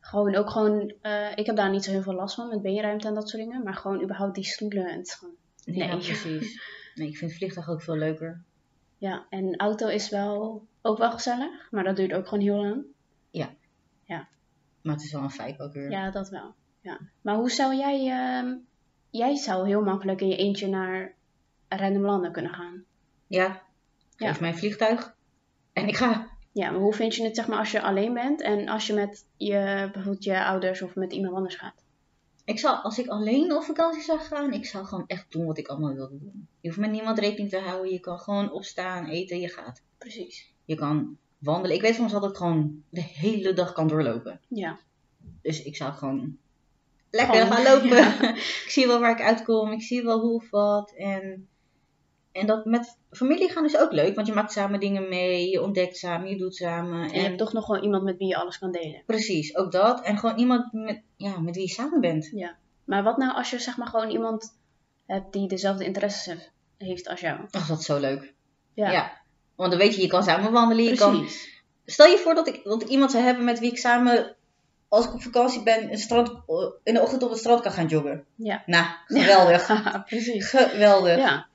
A: Gewoon ook gewoon, eh, ik heb daar niet zo heel veel last van met beenruimte en dat soort dingen. Maar gewoon überhaupt die stoelen. En het is gewoon,
B: Ja,
A: Nee.
B: precies. Nee, ik vind vliegtuig ook veel leuker.
A: ja, en auto is wel ook wel gezellig. Maar dat duurt ook gewoon heel lang.
B: Maar het is wel een feit ook weer.
A: Ja, dat wel. Ja. Maar hoe zou jij... ehm, jij zou heel makkelijk in je eentje naar random landen kunnen gaan.
B: Ja. Geef
A: Ja.
B: mij een vliegtuig. En ik ga.
A: Ja, maar hoe vind je het zeg maar als je alleen bent en als je met je, bijvoorbeeld je ouders of met iemand anders gaat?
B: Ik zou, als ik alleen op vakantie zou gaan, ik zou gewoon echt doen wat ik allemaal wilde doen. Je hoeft met niemand rekening te houden. Je kan gewoon opstaan, eten, je gaat.
A: Precies.
B: Je kan wandelen. Ik weet soms dat ik gewoon de hele dag kan doorlopen.
A: Ja.
B: Dus ik zou gewoon lekker
A: Gewoon, eh,
B: gaan lopen.
A: ja.
B: ik zie wel waar ik uitkom. Ik zie wel hoe of wat. En, en dat met familie gaan is ook leuk. Want je maakt samen dingen mee. Je ontdekt samen. Je doet samen.
A: En je
B: En,
A: hebt toch nog wel iemand met wie je alles kan delen.
B: precies, ook dat. En gewoon iemand met, ja, met wie je samen bent.
A: Maar wat nou als je zeg maar gewoon iemand hebt die dezelfde interesses hef- heeft als jou?
B: Ach, dat is zo leuk.
A: Ja,
B: Want dan weet je, je kan samen wandelen. Je kan
A: precies.
B: Stel je voor dat ik, dat ik iemand zou hebben met wie ik samen, als ik op vakantie ben, een strand, in de ochtend op het strand kan gaan joggen.
A: Ja.
B: Nou, geweldig.
A: Ja, precies.
B: Geweldig.
A: Ja.
B: Maar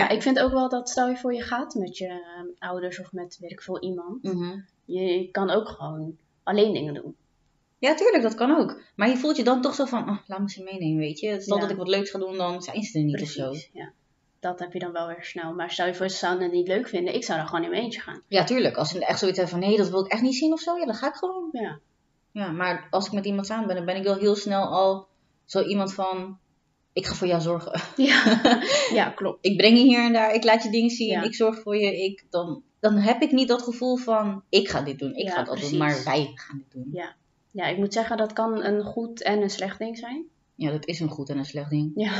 A: Maar
B: ja.
A: ik vind ook wel dat stel je voor je gaat met je eh, ouders of met weet ik veel iemand.
B: Mhm.
A: Je kan ook gewoon alleen dingen doen.
B: Ja, tuurlijk, dat kan ook. Maar je voelt je dan toch zo van, ah, laat me ze meenemen, weet je. Het is
A: Ja.
B: dan dat ik wat leuks ga doen, dan zijn ze er niet of zo.
A: Precies. Ja. Dat heb je dan wel weer snel. Maar stel je voor ze zouden het niet leuk vinden. Ik zou dan gewoon in mijn eentje gaan.
B: Ja, tuurlijk. Als ze echt zoiets hebben van, nee, dat wil ik echt niet zien of zo, ja, dan ga ik gewoon.
A: Ja.
B: Ja, maar als ik met iemand samen ben, dan ben ik wel heel snel al zo iemand van, ik ga voor jou zorgen.
A: Ja, ja klopt.
B: Ik breng je hier en daar, ik laat je dingen zien,
A: Ja.
B: ik zorg voor je. Ik, dan, dan heb ik niet dat gevoel van, ik ga dit doen, ik
A: Ja,
B: ga dat doen,
A: precies.
B: maar wij gaan dit doen.
A: Ja. Ja, ik moet zeggen dat kan een goed en een slecht ding zijn.
B: Ja, dat is een goed en een slecht ding.
A: Ja,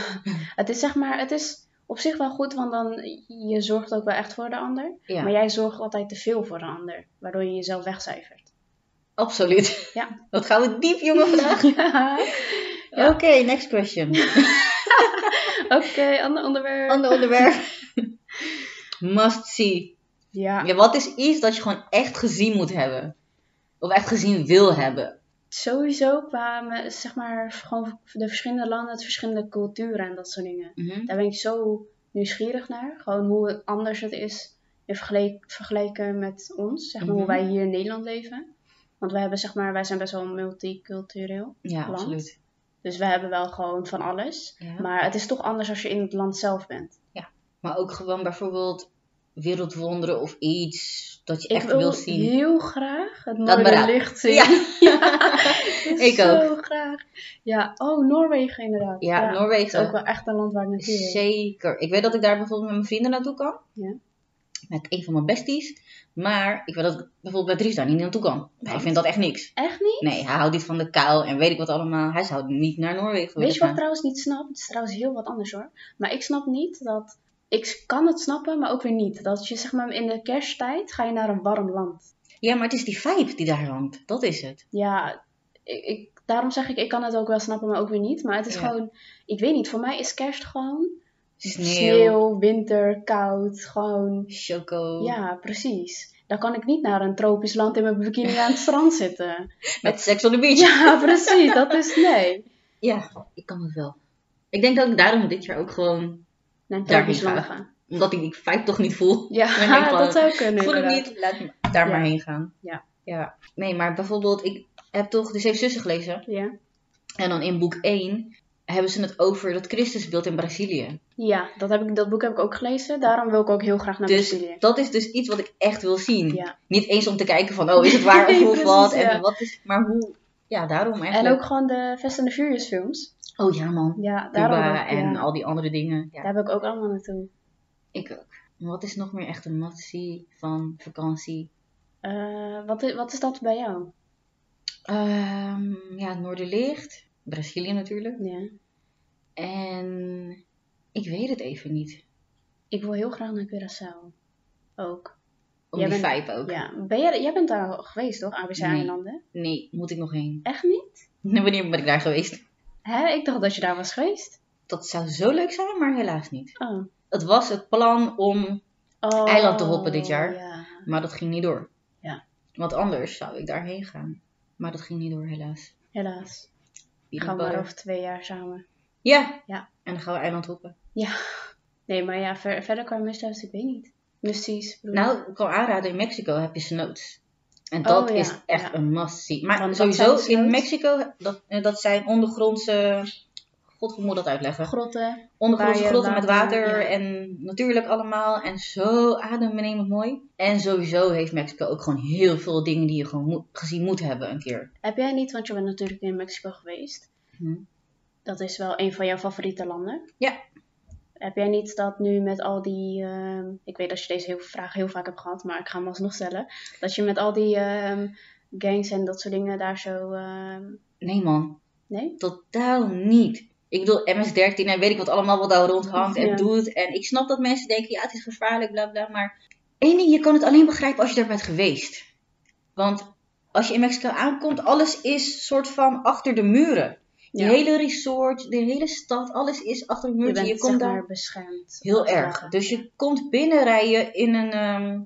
A: het is zeg maar, het is op zich wel goed, want dan je zorgt ook wel echt voor de ander.
B: Ja,
A: Maar jij zorgt altijd te veel voor de ander, waardoor je jezelf wegcijfert.
B: absoluut.
A: Ja.
B: Wat gaan we diep, jongen, vandaag.
A: Ja. Ja.
B: Oké, next question.
A: Oké, ander onderwerp.
B: Ander onderwerp. Must see.
A: ja,
B: Ja, wat is iets dat je gewoon echt gezien moet hebben? Of echt gezien wil hebben?
A: sowieso kwamen zeg maar gewoon de verschillende landen, de verschillende culturen en dat soort dingen.
B: Mhm.
A: Daar ben ik zo nieuwsgierig naar. Gewoon hoe het anders het is in vergelijk- vergelijken met ons. Zeg maar
B: Mhm.
A: hoe wij hier in Nederland leven. Want wij, hebben, zeg maar, wij zijn best wel multicultureel.
B: Ja,
A: Land.
B: absoluut.
A: Dus we hebben wel gewoon van alles.
B: Ja.
A: Maar het is toch anders als je in het land zelf bent.
B: Maar ook gewoon bijvoorbeeld wereldwonderen of iets dat je
A: Ik
B: echt
A: wil
B: wil zien.
A: heel graag het
B: maar raak.
A: noorderlicht zien.
B: Ja.
A: ik
B: Ik ook.
A: zo graag. Ja, oh, Noorwegen inderdaad.
B: Ja,
A: Het is ook
B: Noorwegen.
A: wel echt een land waar ik naartoe wil.
B: Zeker. Ik weet dat ik daar bijvoorbeeld met mijn vrienden naartoe kan.
A: Ja.
B: Met een van mijn besties. Maar ik weet dat ik bijvoorbeeld bij Dries daar niet naartoe kan. Hij
A: Wat?
B: vindt dat echt niks.
A: Echt niet?
B: Nee, hij houdt niet van de kou en weet ik wat allemaal. Hij zou niet naar Noorwegen willen
A: Weet je wat ik
B: gaan.
A: trouwens niet snap? Het is trouwens heel wat anders hoor. Maar ik snap niet dat... Ik kan het snappen, maar ook weer niet. Dat je zeg maar in de kersttijd ga je naar een warm land.
B: Ja, maar het is die vibe die daar hangt. Dat is het.
A: Ja, ik, ik- daarom zeg ik, ik kan het ook wel snappen, maar ook weer niet. Maar het is
B: Ja.
A: gewoon... Ik weet niet, voor mij is kerst gewoon...
B: Sneeuw,
A: Sneeuw, winter, koud, gewoon.
B: choco.
A: Ja, precies. Dan kan ik niet naar een tropisch land in mijn bikini aan het strand zitten.
B: Met seks on the beach. Ja.
A: Ja, precies. Dat is nee.
B: ik kan het wel. Ik denk dat ik daarom dit jaar ook gewoon...
A: Naar een
B: Daar
A: tropisch
B: niet
A: land
B: gaan.
A: gaan.
B: Omdat ik die vibe toch niet voel. Daar heen
A: Ja,
B: gaan.
A: dat zou kunnen.
B: Ik voel hem
A: inderdaad.
B: niet. Laat me daar
A: Ja.
B: maar heen gaan.
A: Ja.
B: ja. Nee, maar bijvoorbeeld... Ik heb toch De Zeven Zussen gelezen.
A: Ja.
B: En dan in boek 1 hebben ze het over dat Christusbeeld in Brazilië.
A: ja, dat, heb ik, dat boek heb ik ook gelezen. Daarom wil ik ook heel graag naar
B: dus
A: Brazilië.
B: dat is dus iets wat ik echt wil zien.
A: Ja.
B: Niet eens om te kijken van, oh, is het waar of
A: Nee,
B: hoe of wat?
A: precies,
B: En
A: ja.
B: wat is... Maar hoe... Ja, daarom
A: En
B: eigenlijk.
A: ook gewoon de Fast and the Furious films.
B: Oh ja, man.
A: Ja, daarom.
B: Cuba
A: ook,
B: en
A: ja.
B: al die andere dingen. Ja.
A: Daar heb ik ook allemaal naartoe.
B: Ik ook. Wat is nog meer echt een must-see van vakantie?
A: Eh, wat, is, wat is dat bij jou?
B: Ehm, ja, het Noorderlicht. Brazilië natuurlijk.
A: Ja.
B: En ik weet het even niet.
A: Ik wil heel graag naar Curaçao. Ook.
B: Om
A: Jij
B: die
A: bent-
B: vibe ook.
A: Ja, ben jij, jij bent daar al geweest, toch? ABC-eilanden?
B: Nee, moet ik nog heen.
A: Echt niet?
B: Wanneer ben ik daar geweest?
A: Hè? Ik dacht dat je daar was geweest.
B: Dat zou zo leuk zijn, maar helaas niet.
A: Oh.
B: Het was het plan om,
A: oh
B: Eiland te hoppen dit jaar.
A: Ja.
B: maar dat ging niet door.
A: Ja.
B: Want anders zou ik daarheen gaan. Maar dat ging niet door, helaas.
A: Helaas.
B: Peanut
A: Gaan we maar
B: butter.
A: over twee jaar samen.
B: Ja.
A: Ja.
B: En dan gaan we eiland hoppen.
A: Ja. Nee, maar ja, ver- verder qua must-haves, ik weet niet. Musties. bedoel ik.
B: Nou, ik kan aanraden, in Mexico heb je snoots. En
A: Mm. Oh,
B: dat
A: ja,
B: is echt
A: ja.
B: een must-see. Maar
A: Want wat
B: sowieso,
A: zijn
B: in
A: snoots?
B: Mexico, dat, eh, dat zijn ondergrondse... God, hoe moet ik dat uitleggen?
A: grotten.
B: Ondergrondse
A: Waar je
B: grotten met
A: water-
B: water
A: ja.
B: en natuurlijk allemaal. En zo adembenemend mooi. En sowieso heeft Mexico ook gewoon heel veel dingen die je gewoon moet- gezien moet hebben een keer.
A: Heb jij niet, want je bent natuurlijk in Mexico geweest.
B: Hm.
A: Dat is wel een van jouw favoriete landen.
B: Ja.
A: Heb jij niet dat nu met al die... ehm, ik weet dat je deze heel, vraag heel vaak hebt gehad, maar ik ga hem alsnog stellen. Dat je met al die ehm, gangs en dat soort dingen daar zo... ehm,
B: Nee man,
A: nee?
B: totaal niet. Ik bedoel, MS-13 en weet ik wat allemaal wat daar rondhangt en
A: Ja.
B: doet. En ik snap dat mensen denken, ja, het is gevaarlijk, bla bla. Maar één ding, je kan het alleen begrijpen als je daar bent geweest. Want als je in Mexico aankomt, alles is soort van achter de muren. Die
A: Ja.
B: hele resort, de hele stad, alles is achter de
A: Je
B: muren.
A: bent
B: Je,
A: zeg
B: komt daar
A: maar beschermd.
B: heel Dus
A: Als het
B: erg.
A: ware.
B: Dus je komt binnenrijden in een, ehm,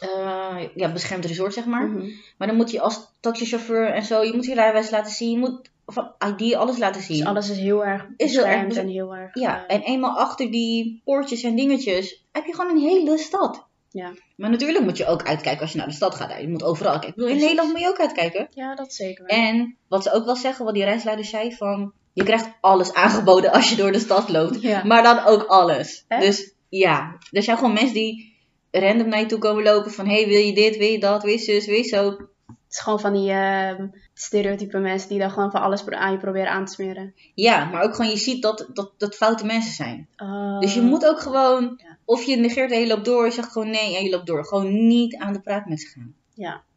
B: eh, ja, beschermd resort, zeg maar.
A: Mhm.
B: Maar dan moet je als taxichauffeur en zo, je moet je rijbewijs laten zien, je moet van ID alles laten zien.
A: Dus alles is heel erg
B: Is heel erg
A: beschermd
B: bes-
A: en heel erg...
B: Ja,
A: eh,
B: en eenmaal achter die poortjes en dingetjes heb je gewoon een hele stad.
A: Ja.
B: Maar natuurlijk moet je ook uitkijken als je naar de stad gaat. Je moet overal kijken. Ik bedoel, in
A: Precies.
B: Nederland moet je ook uitkijken.
A: ja, dat zeker wel.
B: En wat ze ook wel zeggen, wat die reisleiders zei, van je krijgt alles aangeboden als je door de stad loopt.
A: Ja.
B: Maar dan ook alles.
A: Echt?
B: Dus ja, er zijn gewoon mensen die random naar je toe komen lopen van hey, wil je dit, wil je dat, wil je zus, wil je zo.
A: Het is gewoon van die ehm, stereotype mensen die dan gewoon van alles pro- aan je proberen aan te smeren.
B: Ja, maar ook gewoon je ziet dat dat, dat foute mensen zijn.
A: Oh.
B: Dus je moet ook gewoon,
A: Ja.
B: of je negeert en je loopt door, je zegt gewoon nee en je loopt door. Gewoon niet aan de praat met ze gaan.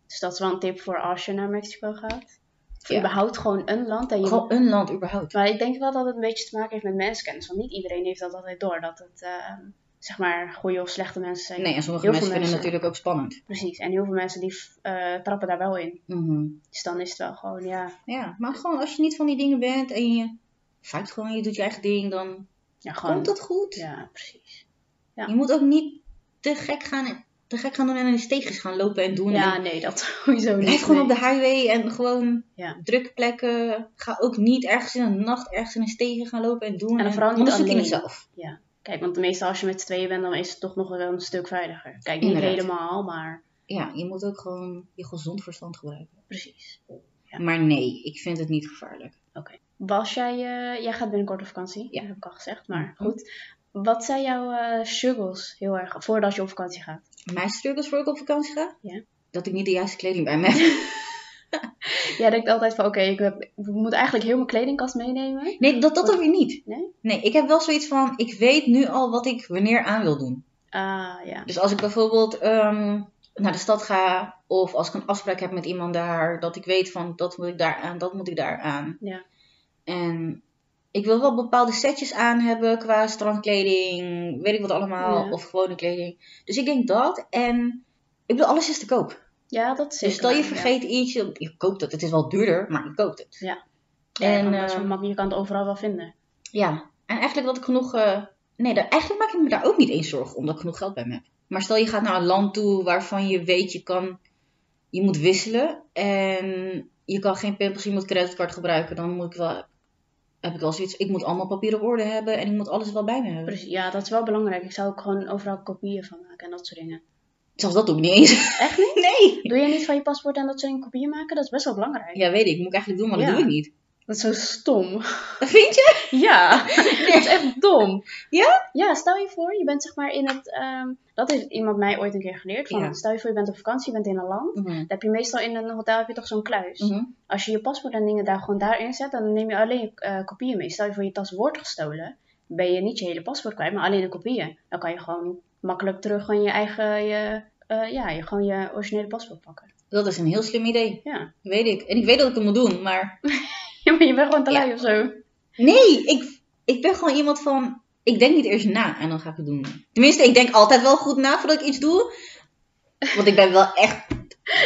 A: Dus dat is wel een tip voor als je naar Mexico gaat. Of
B: Ja.
A: überhaupt gewoon een land. En je
B: Gewoon een land überhaupt.
A: Maar ik denk wel dat het een beetje te maken heeft met mensenkennis. Want niet iedereen heeft dat altijd door. Dat het, ehm, zeg maar, goede of slechte mensen zijn.
B: Nee, en sommige
A: Heel veel
B: mensen vinden het
A: mensen.
B: natuurlijk ook spannend.
A: Precies. En heel veel mensen die eh, trappen daar wel in.
B: Mhm.
A: Dus dan is het wel gewoon, ja,
B: Ja, maar gewoon als je niet van die dingen bent en je vijft gewoon, je doet je eigen ding, dan
A: ja gewoon...
B: komt het goed.
A: Ja, precies. ja.
B: Je moet ook niet te gek gaan, te gek gaan doen en in de steegjes gaan lopen en doen.
A: Ja,
B: En
A: nee, dat sowieso niet.
B: blijf gewoon
A: nee.
B: op de highway en gewoon
A: Ja.
B: drukke plekken. Ga ook niet ergens in de nacht ergens in een steegje gaan lopen en doen.
A: En vooral niet
B: anders zoek je
A: alleen.
B: het zelf.
A: Kijk, want meestal als je met z'n tweeën bent, dan is het toch nog wel een stuk veiliger. Kijk, niet
B: Inderdaad.
A: helemaal, maar
B: Ja, je moet ook gewoon je gezond verstand gebruiken.
A: precies. Ja.
B: Maar nee, ik vind het niet gevaarlijk.
A: Was jij, eh, jij gaat binnenkort op vakantie,
B: Ja. Mhm.
A: dat heb ik al gezegd, maar goed. Wat zijn jouw eh, struggles heel erg voordat je op vakantie gaat?
B: Mijn struggles voor ik op vakantie ga?
A: Ja.
B: Dat ik niet de juiste kleding bij me heb.
A: Jij denkt altijd van, oké, ik heb- ik moet eigenlijk heel mijn kledingkast meenemen.
B: Nee, dat, dat dan weer niet.
A: Nee?
B: Nee, ik heb wel zoiets van, ik weet nu al wat ik wanneer aan wil doen.
A: Ah, ja.
B: Dus als ik bijvoorbeeld ehm, naar de stad ga, of als ik een afspraak heb met iemand daar, dat ik weet van, dat moet ik daar aan, dat moet ik daar aan.
A: Ja.
B: En ik wil wel bepaalde setjes aan hebben qua strandkleding, weet ik wat allemaal,
A: Ja.
B: of gewone kleding. Dus ik denk dat en... Ik bedoel, alles is te koop.
A: Ja, dat is
B: Dus
A: zeker.
B: stel je
A: waar, ja.
B: vergeet ietsje, je koopt het. Het is wel duurder, maar je koopt het.
A: Ja,
B: en,
A: want dat is wel
B: eh, Mhm.
A: makkelijk, je kan het overal wel vinden.
B: Ja. En eigenlijk dat ik genoeg... eh, nee, daar, eigenlijk maak ik me daar ook niet eens zorgen om dat ik genoeg geld bij me heb. Maar stel je gaat naar een land toe waarvan je weet je kan... Je moet wisselen en je kan geen pimpels, je moet creditcard gebruiken. Dan moet ik wel, heb ik wel zoiets. Ik moet allemaal papier op orde hebben en ik moet alles wel bij me hebben.
A: Precies, ja, dat is wel belangrijk. Ik zou ook gewoon overal kopieën van maken en dat soort dingen.
B: Zelfs dat doe ik niet eens.
A: Echt niet?
B: Nee.
A: Doe je niet van je paspoort en dat soort dingen kopieën maken? Dat is best wel belangrijk.
B: Ja, weet ik. Moet ik eigenlijk doen, maar dat
A: Ja.
B: doe ik niet.
A: Dat is zo stom.
B: Dat vind je?
A: Ja, dat is echt dom.
B: Ja?
A: Ja, stel je voor, je bent zeg maar in het... ehm, dat heeft iemand mij ooit een keer geleerd. Van,
B: Ja.
A: Stel je voor, je bent op vakantie, je bent in een land.
B: Mhm.
A: Dan heb je meestal in een hotel heb je toch zo'n kluis.
B: Mhm.
A: Als je je paspoort en dingen daar gewoon daarin zet, dan neem je alleen eh, kopieën mee. Stel je voor, je tas wordt gestolen, ben je niet je hele paspoort kwijt, maar alleen de kopieën. Dan kan je gewoon makkelijk terug gewoon je eigen... Je, eh, ja, je, gewoon je originele paspoort pakken.
B: Dat is een heel slim idee.
A: Ja.
B: Weet ik. En ik weet dat ik het moet doen, maar.
A: Ja, maar je bent gewoon te
B: Ja.
A: lui of zo.
B: Nee, ik, ik ben gewoon iemand van. Ik denk niet eerst na en dan ga ik het doen. Tenminste, ik denk altijd wel goed na voordat ik iets doe. Want ik ben wel echt.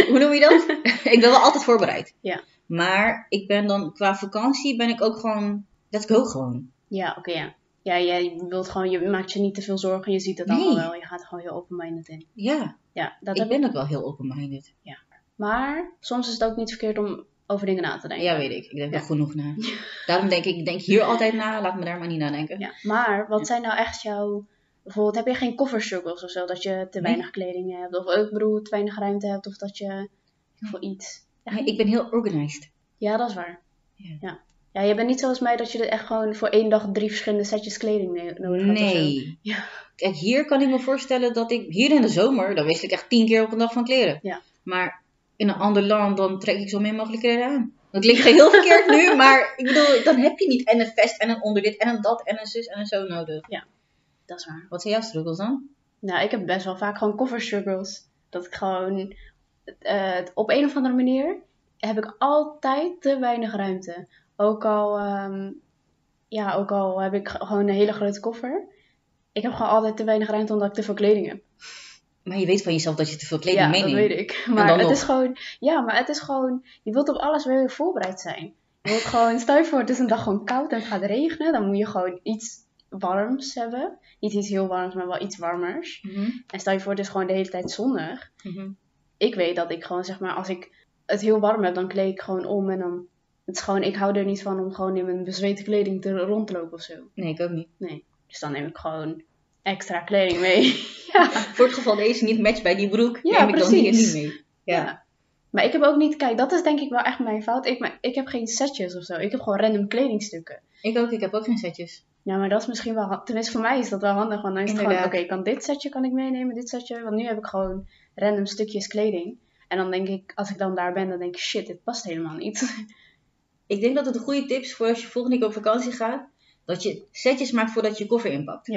B: Hoe noem je dat? ik ben wel altijd voorbereid.
A: Ja.
B: Maar ik ben dan qua vakantie ben ik ook gewoon. Let's go gewoon.
A: Ja, oké, ja. Ja, jij wilt gewoon, je maakt je niet te veel zorgen, je ziet het allemaal
B: Nee.
A: wel, je gaat er gewoon heel open-minded in.
B: Ja,
A: Ja, dat
B: ik
A: heb
B: ben ook wel heel open-minded.
A: Maar soms is het ook niet verkeerd om over dingen na te denken.
B: Ja, weet ik. Ik denk wel
A: Ja.
B: genoeg na. Daarom denk ik, ik denk hier altijd na. Laat me daar maar niet nadenken.
A: Ja, maar wat zijn nou echt jouw, bijvoorbeeld heb je geen kofferstruggles of zo, dat je te
B: Nee.
A: weinig kleding hebt, of ik bedoel, te weinig ruimte hebt, of dat je voor iets.
B: Nee, ik ben heel organized.
A: Ja, dat is waar.
B: Ja.
A: Ja. Ja, je bent niet zoals mij dat je er echt gewoon voor één dag drie verschillende setjes kleding ne- nodig hebt. of zo.
B: Nee.
A: Ja.
B: Kijk, hier kan ik me voorstellen dat ik hier in de zomer, dan wissel ik echt tien keer op een dag van kleren.
A: Ja.
B: Maar in een ander land, dan trek ik zo min mogelijk kleren aan. Dat klinkt heel verkeerd nu, maar ik bedoel, dan heb je niet en een vest en een onderdit en een dat en een zus en een zo nodig.
A: Dat is waar.
B: Wat zijn jouw struggles dan?
A: Nou, ik heb best wel vaak gewoon cover struggles. Dat ik gewoon eh, op een of andere manier heb ik altijd te weinig ruimte. Ook al, ehm, ja, ook al heb ik ge- gewoon een hele grote koffer. Ik heb gewoon altijd te weinig ruimte omdat ik te veel kleding heb.
B: Maar je weet van jezelf dat je te veel kleding
A: ja,
B: meeneemt.
A: dat weet ik.
B: En dan
A: Maar het
B: nog.
A: is gewoon, ja, maar het is gewoon, je wilt op alles weer voorbereid zijn. Je wilt gewoon, stel je voor, het is een dag gewoon koud en het gaat regenen. Dan moet je gewoon iets warms hebben. Niet iets heel warms, maar wel iets warmers.
B: Mhm.
A: En stel je voor, het is gewoon de hele tijd zonnig.
B: Mhm.
A: Ik weet dat ik gewoon, zeg maar, als ik het heel warm heb, dan kleed ik gewoon om. En dan, het is gewoon, ik hou er niet van om gewoon in mijn bezweten kleding te rond te lopen of zo.
B: Nee, ik ook niet.
A: Dus dan neem ik gewoon extra kleding mee.
B: Voor het geval deze niet matcht bij die broek,
A: Ja,
B: neem ik dan hier
A: precies.
B: niet mee. Ja.
A: Maar ik heb ook niet, kijk, dat is denk ik wel echt mijn fout. Ik, maar ik heb geen setjes of zo. Ik heb gewoon random kledingstukken.
B: Ik ook, ik heb ook geen setjes.
A: Ja, maar dat is misschien wel, ha- tenminste voor mij is dat wel handig. Want dan is het
B: Inderdaad.
A: gewoon, oké, ik kan dit setje kan ik meenemen, dit setje. Want nu heb ik gewoon random stukjes kleding. En dan denk ik, als ik dan daar ben, dan denk ik, shit, dit past helemaal niet.
B: Ik denk dat het een goede tip is voor als je volgende keer op vakantie gaat, dat je setjes maakt voordat je je koffer inpakt.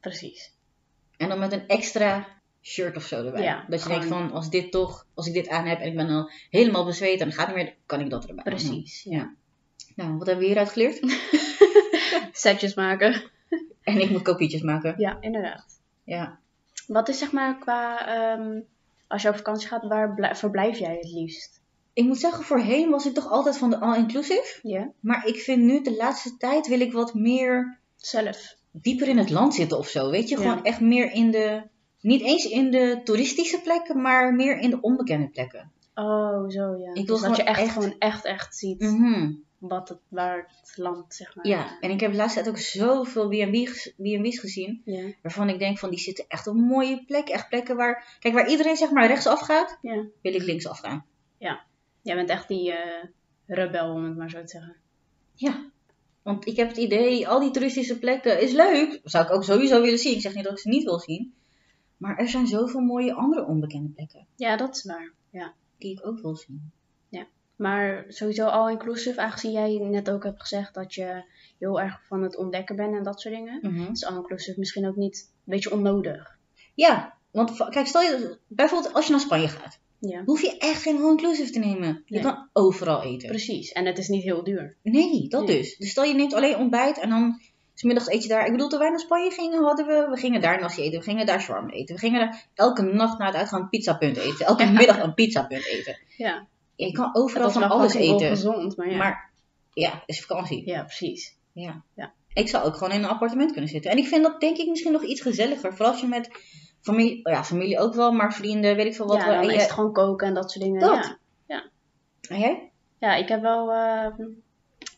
A: Precies.
B: En dan met een extra shirt of zo erbij.
A: Ja,
B: dat je denkt
A: gewoon-
B: van, als dit toch, als ik dit aan heb en ik ben al helemaal bezweet en het gaat niet meer, kan ik dat erbij doen.
A: Precies,
B: ja. Nou, wat hebben we hieruit geleerd?
A: Setjes maken.
B: en ik moet kopietjes maken.
A: Ja, inderdaad.
B: Ja.
A: Wat is zeg maar qua, ehm, als je op vakantie gaat, waar blij- verblijf jij het liefst?
B: Ik moet zeggen, voorheen was ik toch altijd van de all-inclusive.
A: Ja,
B: Maar ik vind nu, de laatste tijd wil ik wat meer
A: zelf.
B: dieper in het land zitten of zo. Weet je,
A: Ja.
B: gewoon echt meer in de. Niet eens in de toeristische plekken, maar meer in de onbekende plekken.
A: Oh, zo ja.
B: wil
A: dus
B: gewoon
A: dat je echt, Mhm.
B: echt-
A: gewoon echt, echt ziet wat het, waar het land, zeg maar.
B: Mhm. Ja, en ik heb de laatste tijd ook zoveel B&B's B&B's gezien.
A: Ja,
B: Waarvan ik denk van die zitten echt op mooie plekken. Echt plekken waar. Kijk, waar iedereen zeg maar rechtsaf gaat,
A: ja.
B: wil ik linksaf gaan.
A: Jij bent echt die eh, rebel, om het maar zo te zeggen.
B: Ja. Want ik heb het idee, al die toeristische plekken is leuk. Zou ik ook sowieso willen zien. Ik zeg niet dat ik ze niet wil zien. Maar er zijn zoveel mooie andere onbekende plekken
A: Ja, dat is waar. Ja.
B: die ik ook wil zien.
A: Maar sowieso all inclusive, aangezien jij net ook hebt gezegd dat je heel erg van het ontdekken bent en dat soort dingen. Is all inclusive misschien ook niet een beetje onnodig.
B: Ja, want va- kijk, stel je bijvoorbeeld als je naar Spanje gaat,
A: Ja,
B: hoef je echt geen all-inclusive te nemen. Je
A: Nee.
B: kan overal eten.
A: precies. En het is niet heel duur.
B: Nee, dat
A: Nee.
B: dus. Dus stel je neemt alleen ontbijt en dan 's middags eet je daar. Ik bedoel, toen wij naar Spanje gingen, hadden we, we gingen daar nasi eten, we gingen daar shawarma eten, we gingen daar elke nacht na het uitgaan een pizzapunt eten, elke middag een pizzapunt eten.
A: Ja,
B: Je kan
A: dat
B: overal
A: is
B: van
A: wel
B: alles
A: fucking
B: eten.
A: ongezond, maar ja.
B: Maar ja, is vakantie.
A: Ja, precies.
B: Ja.
A: Ja.
B: Ik zou ook gewoon in een appartement kunnen zitten. En ik vind dat denk ik misschien nog iets gezelliger. Vooral als je met familie, ja, familie ook wel, maar vrienden, weet ik veel wat.
A: ja,
B: wel.
A: dan
B: En
A: is
B: je-
A: het gewoon koken en dat soort dingen.
B: Dat.
A: Ja.
B: En jij?
A: ja, ik heb wel... eh,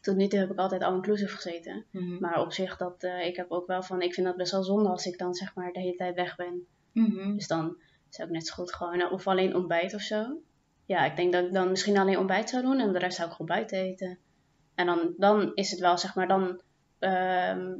A: tot nu toe heb ik altijd all inclusive gezeten.
B: Mhm.
A: Maar op zich, dat, eh, ik heb ook wel van... Ik vind dat best wel zonde als ik dan zeg maar de hele tijd weg ben.
B: Mhm.
A: Dus dan zou ik net zo goed gewoon, nou, of alleen ontbijt of zo. Ja, ik denk dat ik dan misschien alleen ontbijt zou doen en de rest zou ik gewoon buiten eten. En dan, dan is het wel, zeg maar, dan ehm,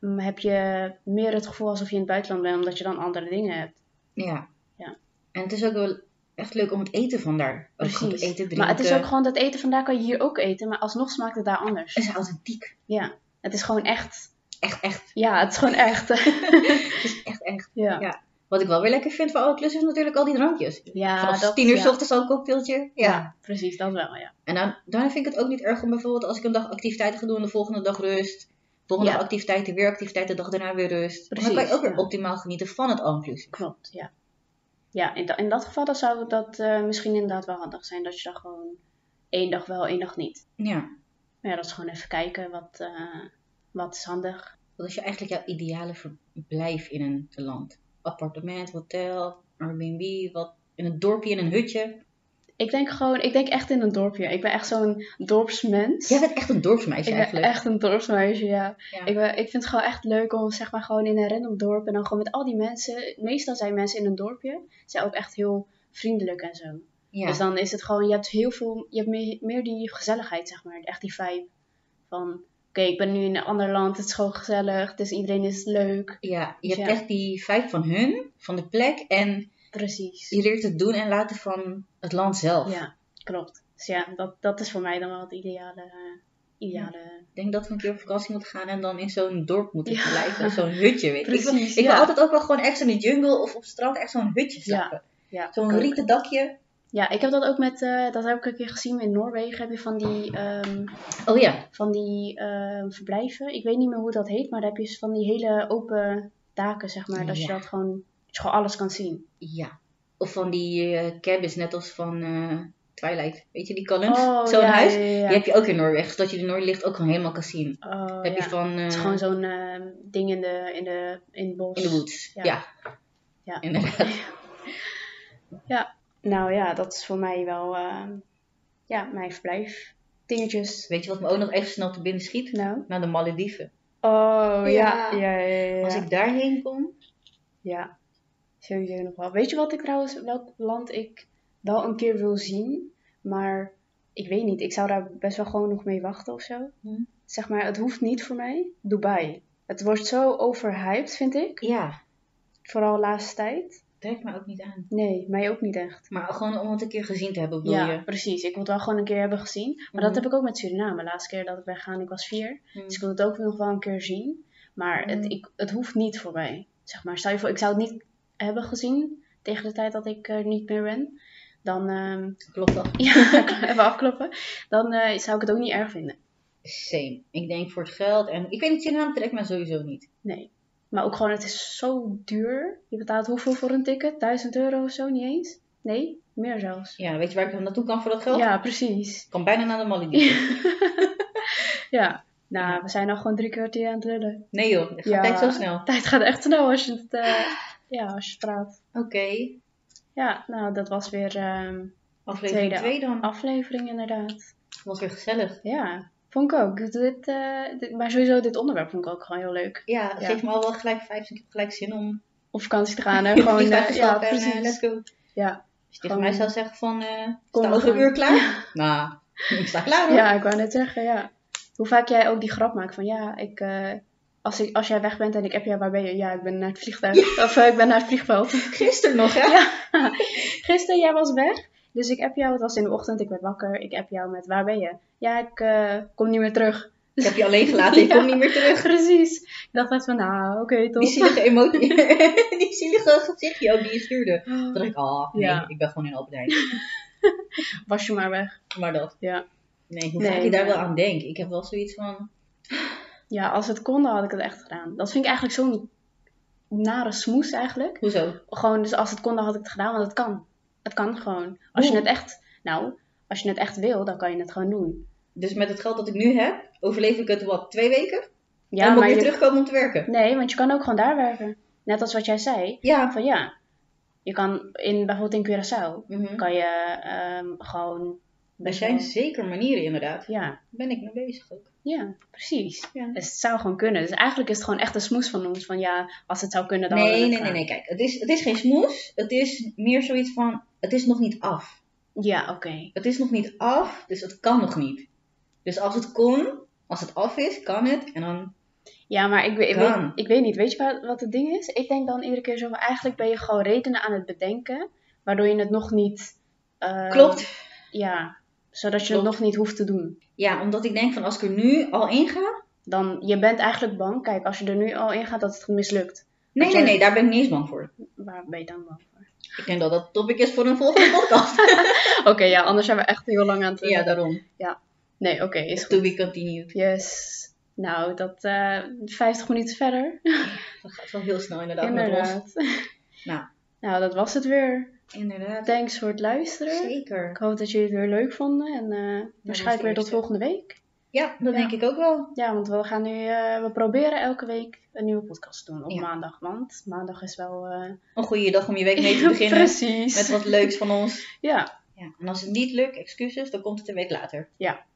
A: m- heb je meer het gevoel alsof je in het buitenland bent, omdat je dan andere dingen hebt.
B: Ja.
A: Ja.
B: En het is ook wel echt leuk om het eten van daar. Ook goed eten, drinken.
A: maar het is ook gewoon, dat eten vandaar kan je hier ook eten, maar alsnog smaakt het daar anders.
B: Het is authentiek.
A: Ja, het is gewoon echt.
B: Echt, echt.
A: Ja, het is gewoon echt.
B: Het is echt, echt.
A: ja,
B: Wat ik wel weer lekker vind van alle klussen is natuurlijk al die drankjes.
A: ja
B: Vanaf tien uur
A: ja.
B: s ochtends al een cocktailtje. Ja.
A: Ja, precies, dat wel, ja.
B: En dan, daarna vind ik het ook niet erg om bijvoorbeeld als ik een dag activiteiten ga doen, en de volgende dag rust. De volgende
A: Ja.
B: dag activiteiten, weer activiteiten, de dag daarna weer rust. En dan kan je
A: Precies,
B: ook weer
A: ja.
B: optimaal genieten van het all-inclusive.
A: Klopt, ja. Ja, in, da- in dat geval dan zou dat eh, misschien inderdaad wel handig zijn. Dat je dan gewoon één dag wel, één dag niet.
B: Ja.
A: Maar ja, dat is gewoon even kijken wat, eh, wat is handig.
B: Wat is je eigenlijk jouw ideale verblijf in een land? Appartement, hotel, Airbnb, wat, in een dorpje, in een hutje?
A: Ik denk gewoon, ik denk echt in een dorpje. Ik ben echt zo'n dorpsmens.
B: Jij bent echt een dorpsmeisje
A: ik ben
B: eigenlijk.
A: echt een dorpsmeisje, ja.
B: Ja.
A: Ik, ben, ik vind het gewoon echt leuk om zeg maar gewoon in een random dorp en dan gewoon met al die mensen. Meestal zijn mensen in een dorpje, zijn ook echt heel vriendelijk en zo.
B: Ja.
A: Dus dan is het gewoon, je hebt heel veel, je hebt meer, meer die gezelligheid, zeg maar. Echt die vibe van, oké, ik ben nu in een ander land, het is gewoon gezellig, dus iedereen is leuk.
B: ja, je
A: Dus
B: hebt
A: ja.
B: echt die vibe van hun, van de plek. En
A: Precies.
B: je leert het doen en laten van het land zelf.
A: Ja, klopt. Dus ja, dat, dat is voor mij dan wel het ideale, eh, ideale...
B: Ik denk dat we een keer op vakantie moeten gaan en dan in zo'n dorp moeten
A: Ja.
B: blijven. Zo'n hutje, weet je. Ik wil-
A: Precies,
B: Ik wil
A: ja.
B: altijd ook wel gewoon echt in de jungle of op het strand echt zo'n hutje slapen.
A: Ja,
B: Zo'n
A: ook.
B: rieten dakje.
A: Ja, ik heb dat ook met, eh, dat heb ik een keer gezien in Noorwegen, heb je van die, ehm,
B: Oh ja.
A: van die ehm, verblijven. Ik weet niet meer hoe dat heet, maar daar heb je dus van die hele open daken, zeg maar. Dat je
B: Ja.
A: dat gewoon, dat je gewoon alles kan zien.
B: Ja. Of van die eh cabins, net als van eh, Twilight. Weet je die kalm?
A: Oh,
B: Zo'n
A: ja,
B: huis.
A: ja, ja, ja.
B: Die heb je ook in Noorwegen, zodat je de Noorderlicht ook gewoon helemaal kan zien.
A: Oh,
B: heb
A: ja.
B: je van eh,
A: Het is gewoon zo'n eh, ding in de, in, de, in het bos.
B: in de woods.
A: Ja.
B: Ja.
A: Ja.
B: Inderdaad.
A: Nou ja, dat is voor mij wel eh, ja, mijn verblijf. Dingetjes.
B: Weet je wat me ook nog even snel te binnen schiet?
A: Nou.
B: Naar de Malediven.
A: Oh ja.
B: Ja.
A: Ja, ja, ja, ja.
B: Als ik daarheen kom.
A: Ja, sowieso nog wel. Weet je wat ik trouwens, welk land ik wel een keer wil zien, maar ik weet niet. Ik zou daar best wel gewoon nog mee wachten of zo.
B: Hm.
A: Zeg maar, het hoeft niet voor mij. Dubai. Het wordt zo overhyped, vind ik.
B: Ja,
A: Vooral de laatste tijd.
B: trekt me ook niet aan.
A: Nee, mij ook niet echt.
B: Maar gewoon om het een keer gezien te hebben, bedoel
A: ja,
B: je?
A: precies. Ik wil het wel gewoon een keer hebben gezien. Maar dat
B: Mhm.
A: heb ik ook met Suriname. De laatste keer dat ik ben gegaan, ik was vier.
B: Hm.
A: Dus ik wil het ook nog wel een keer zien. Maar het,
B: Mm.
A: ik, het hoeft niet voor mij. Zeg maar, stel je voor, ik zou het niet hebben gezien tegen de tijd dat ik er niet meer ben. Dan, ehm,
B: Klopt dat?
A: ja, even afkloppen. Dan eh, zou ik het ook niet erg vinden.
B: Same. Ik denk voor het geld en... Ik weet niet, Suriname trekt me sowieso niet.
A: Nee. Maar ook gewoon, het is zo duur. Je betaalt hoeveel voor een ticket? 1000 euro of zo, niet eens? Nee, meer zelfs.
B: Ja, weet je waar ik dan naartoe kan voor dat geld?
A: Ja, precies.
B: Ik kan bijna naar de Malediven.
A: Ja. Nou, we zijn al gewoon drie kwartier aan het lullen.
B: Nee joh, het gaat
A: Ja.
B: tijd zo snel.
A: Tijd gaat echt snel als je het, eh, ja, als je het praat.
B: Oké,
A: Ja, nou, dat was weer... ehm,
B: aflevering
A: Tweede
B: 2 dan.
A: aflevering inderdaad.
B: Was weer gezellig.
A: Ja, vond ik ook. Dit, eh, dit- maar sowieso dit onderwerp vond ik ook gewoon heel leuk.
B: Ja, het
A: Ja.
B: geeft me al wel gelijk vijf. dus Ik heb gelijk zin om
A: Op vakantie te gaan, hè?
B: in het
A: Gewoon,
B: vliegtuig
A: eh,
B: te
A: ja,
B: stappen en eh,
A: precies.
B: let's go. Als
A: Ja.
B: je tegen
A: Gewoon-
B: mij zou zeggen van, eh
A: Kom,
B: sta
A: we
B: over een
A: gaan.
B: uur klaar? Nou, ik sta klaar hoor.
A: ja, ik wou net zeggen, ja. Hoe vaak jij ook die grap maakt van, ja, ik, eh, als, ik, als jij weg bent en ik heb jou, waar ben je? Ja, ik ben naar het vliegtuig. Of eh, ik ben naar het vliegveld.
B: Gisteren nog hè?
A: Gisteren, jij was weg. Dus ik heb jou, het was in de ochtend, ik werd wakker. Ik heb jou met, waar ben je? Ja, ik eh, kom niet meer terug.
B: Ik heb je alleen gelaten, ik
A: Ja.
B: kom niet meer terug.
A: Precies. Ik dacht echt van, nou, oké,
B: Die
A: toch.
B: zielige emotie, die zielige gezichtje ook die je stuurde. Toen dacht ik, ah, nee,
A: Ja.
B: ik ben gewoon in Albert Heijn.
A: Was je maar weg.
B: Maar dat,
A: Ja.
B: nee, hoe
A: Nee,
B: vaak je daar
A: maar-
B: wel aan denkt. Ik heb wel zoiets van,
A: Ja, als het kon, dan had ik het echt gedaan. Dat vind ik eigenlijk zo'n nare smoes eigenlijk.
B: hoezo?
A: Gewoon, dus als het kon, dan had ik het gedaan, want het kan. Het kan gewoon. Als je
B: Oeh.
A: het echt, nou, als je het echt wil, dan kan je het gewoon doen.
B: Dus met het geld dat ik nu heb, overleef ik het wat, twee weken?
A: Ja,
B: en dan moet ik
A: je,
B: weer terugkomen om te werken.
A: nee, want je kan ook gewoon daar werken. Net als wat jij zei,
B: Ja.
A: van ja, je kan in, bijvoorbeeld in Curaçao,
B: Mhm.
A: kan je ehm, gewoon...
B: Er
A: best
B: zijn
A: wel-
B: zeker manieren inderdaad.
A: Ja,
B: Daar ben ik mee bezig ook.
A: ja, precies.
B: Ja.
A: Dus het zou gewoon kunnen. Dus eigenlijk is het gewoon echt een smoes van ons, van ja, als het zou kunnen, dan hadden
B: Nee,
A: we
B: nee,
A: het
B: nee, nee. Kijk, het is, het is geen smoes. Het is meer zoiets van, het is nog niet af.
A: gedaan. Ja, oké.
B: Het is nog niet af, dus het kan nog niet. Dus als het kon, als het af is, kan het. En dan,
A: Ja, maar ik, weet- ik,
B: Kan.
A: weet, ik weet niet. Weet je wat, wat het ding is? Ik denk dan iedere keer zo van... Eigenlijk ben je gewoon redenen aan het bedenken... waardoor je het nog niet... eh,
B: klopt.
A: Ja, zodat je het
B: Klopt.
A: nog niet hoeft te doen.
B: Ja, omdat ik denk van, als ik er nu al in ga.
A: Dan, je bent eigenlijk bang. Kijk, als je er nu al in gaat dat het mislukt.
B: Nee,
A: Want jij-
B: nee, nee, daar ben ik niet eens bang voor.
A: Waar ben je dan bang voor?
B: Ik denk dat dat topic is voor een volgende podcast.
A: Oké, ja, anders zijn we echt heel lang aan het...
B: ja, daarom.
A: Nee, oké, is goed.
B: To be continued.
A: Yes. Nou, dat... eh 50 minuten verder.
B: Dat gaat wel heel snel inderdaad, met ons.
A: Inderdaad.
B: Nou.
A: nou, dat was het weer.
B: Inderdaad.
A: Thanks voor het luisteren.
B: Zeker.
A: Ik hoop dat jullie het weer leuk vonden en eh, waarschijnlijk weer tot
B: eerste.
A: volgende week.
B: Ja, dat
A: Ja.
B: denk ik ook wel.
A: Ja, want we gaan nu, eh, we proberen elke week een nieuwe podcast te doen op
B: Ja.
A: maandag. Want maandag is wel... eh,
B: Een goede dag om je week mee te beginnen.
A: Precies.
B: met wat leuks van ons.
A: Ja,
B: Ja, en als het niet lukt, excuses, dan komt het een week later.
A: Ja.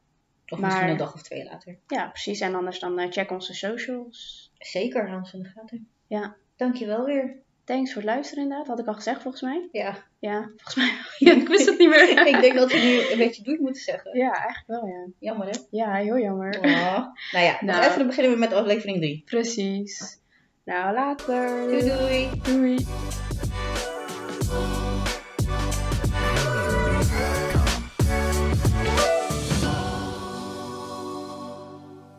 B: Of
A: Maar-
B: misschien een dag of twee later.
A: ja, precies. En anders dan eh, check onze socials.
B: Zeker, Hans in de gaten.
A: Ja.
B: Dankjewel weer.
A: Thanks voor het luisteren inderdaad. Had ik al gezegd volgens mij.
B: Ja.
A: Ja, volgens mij. Ja, ik wist het niet meer.
B: ik denk dat we nu een beetje doei moeten zeggen.
A: Ja, eigenlijk wel ja.
B: Jammer hè?
A: Ja, heel jammer.
B: Oh. Nou ja,
A: Nou.
B: nog even dan beginnen we met aflevering 3.
A: Precies. Nou, later.
B: Doei doei!
A: Doei.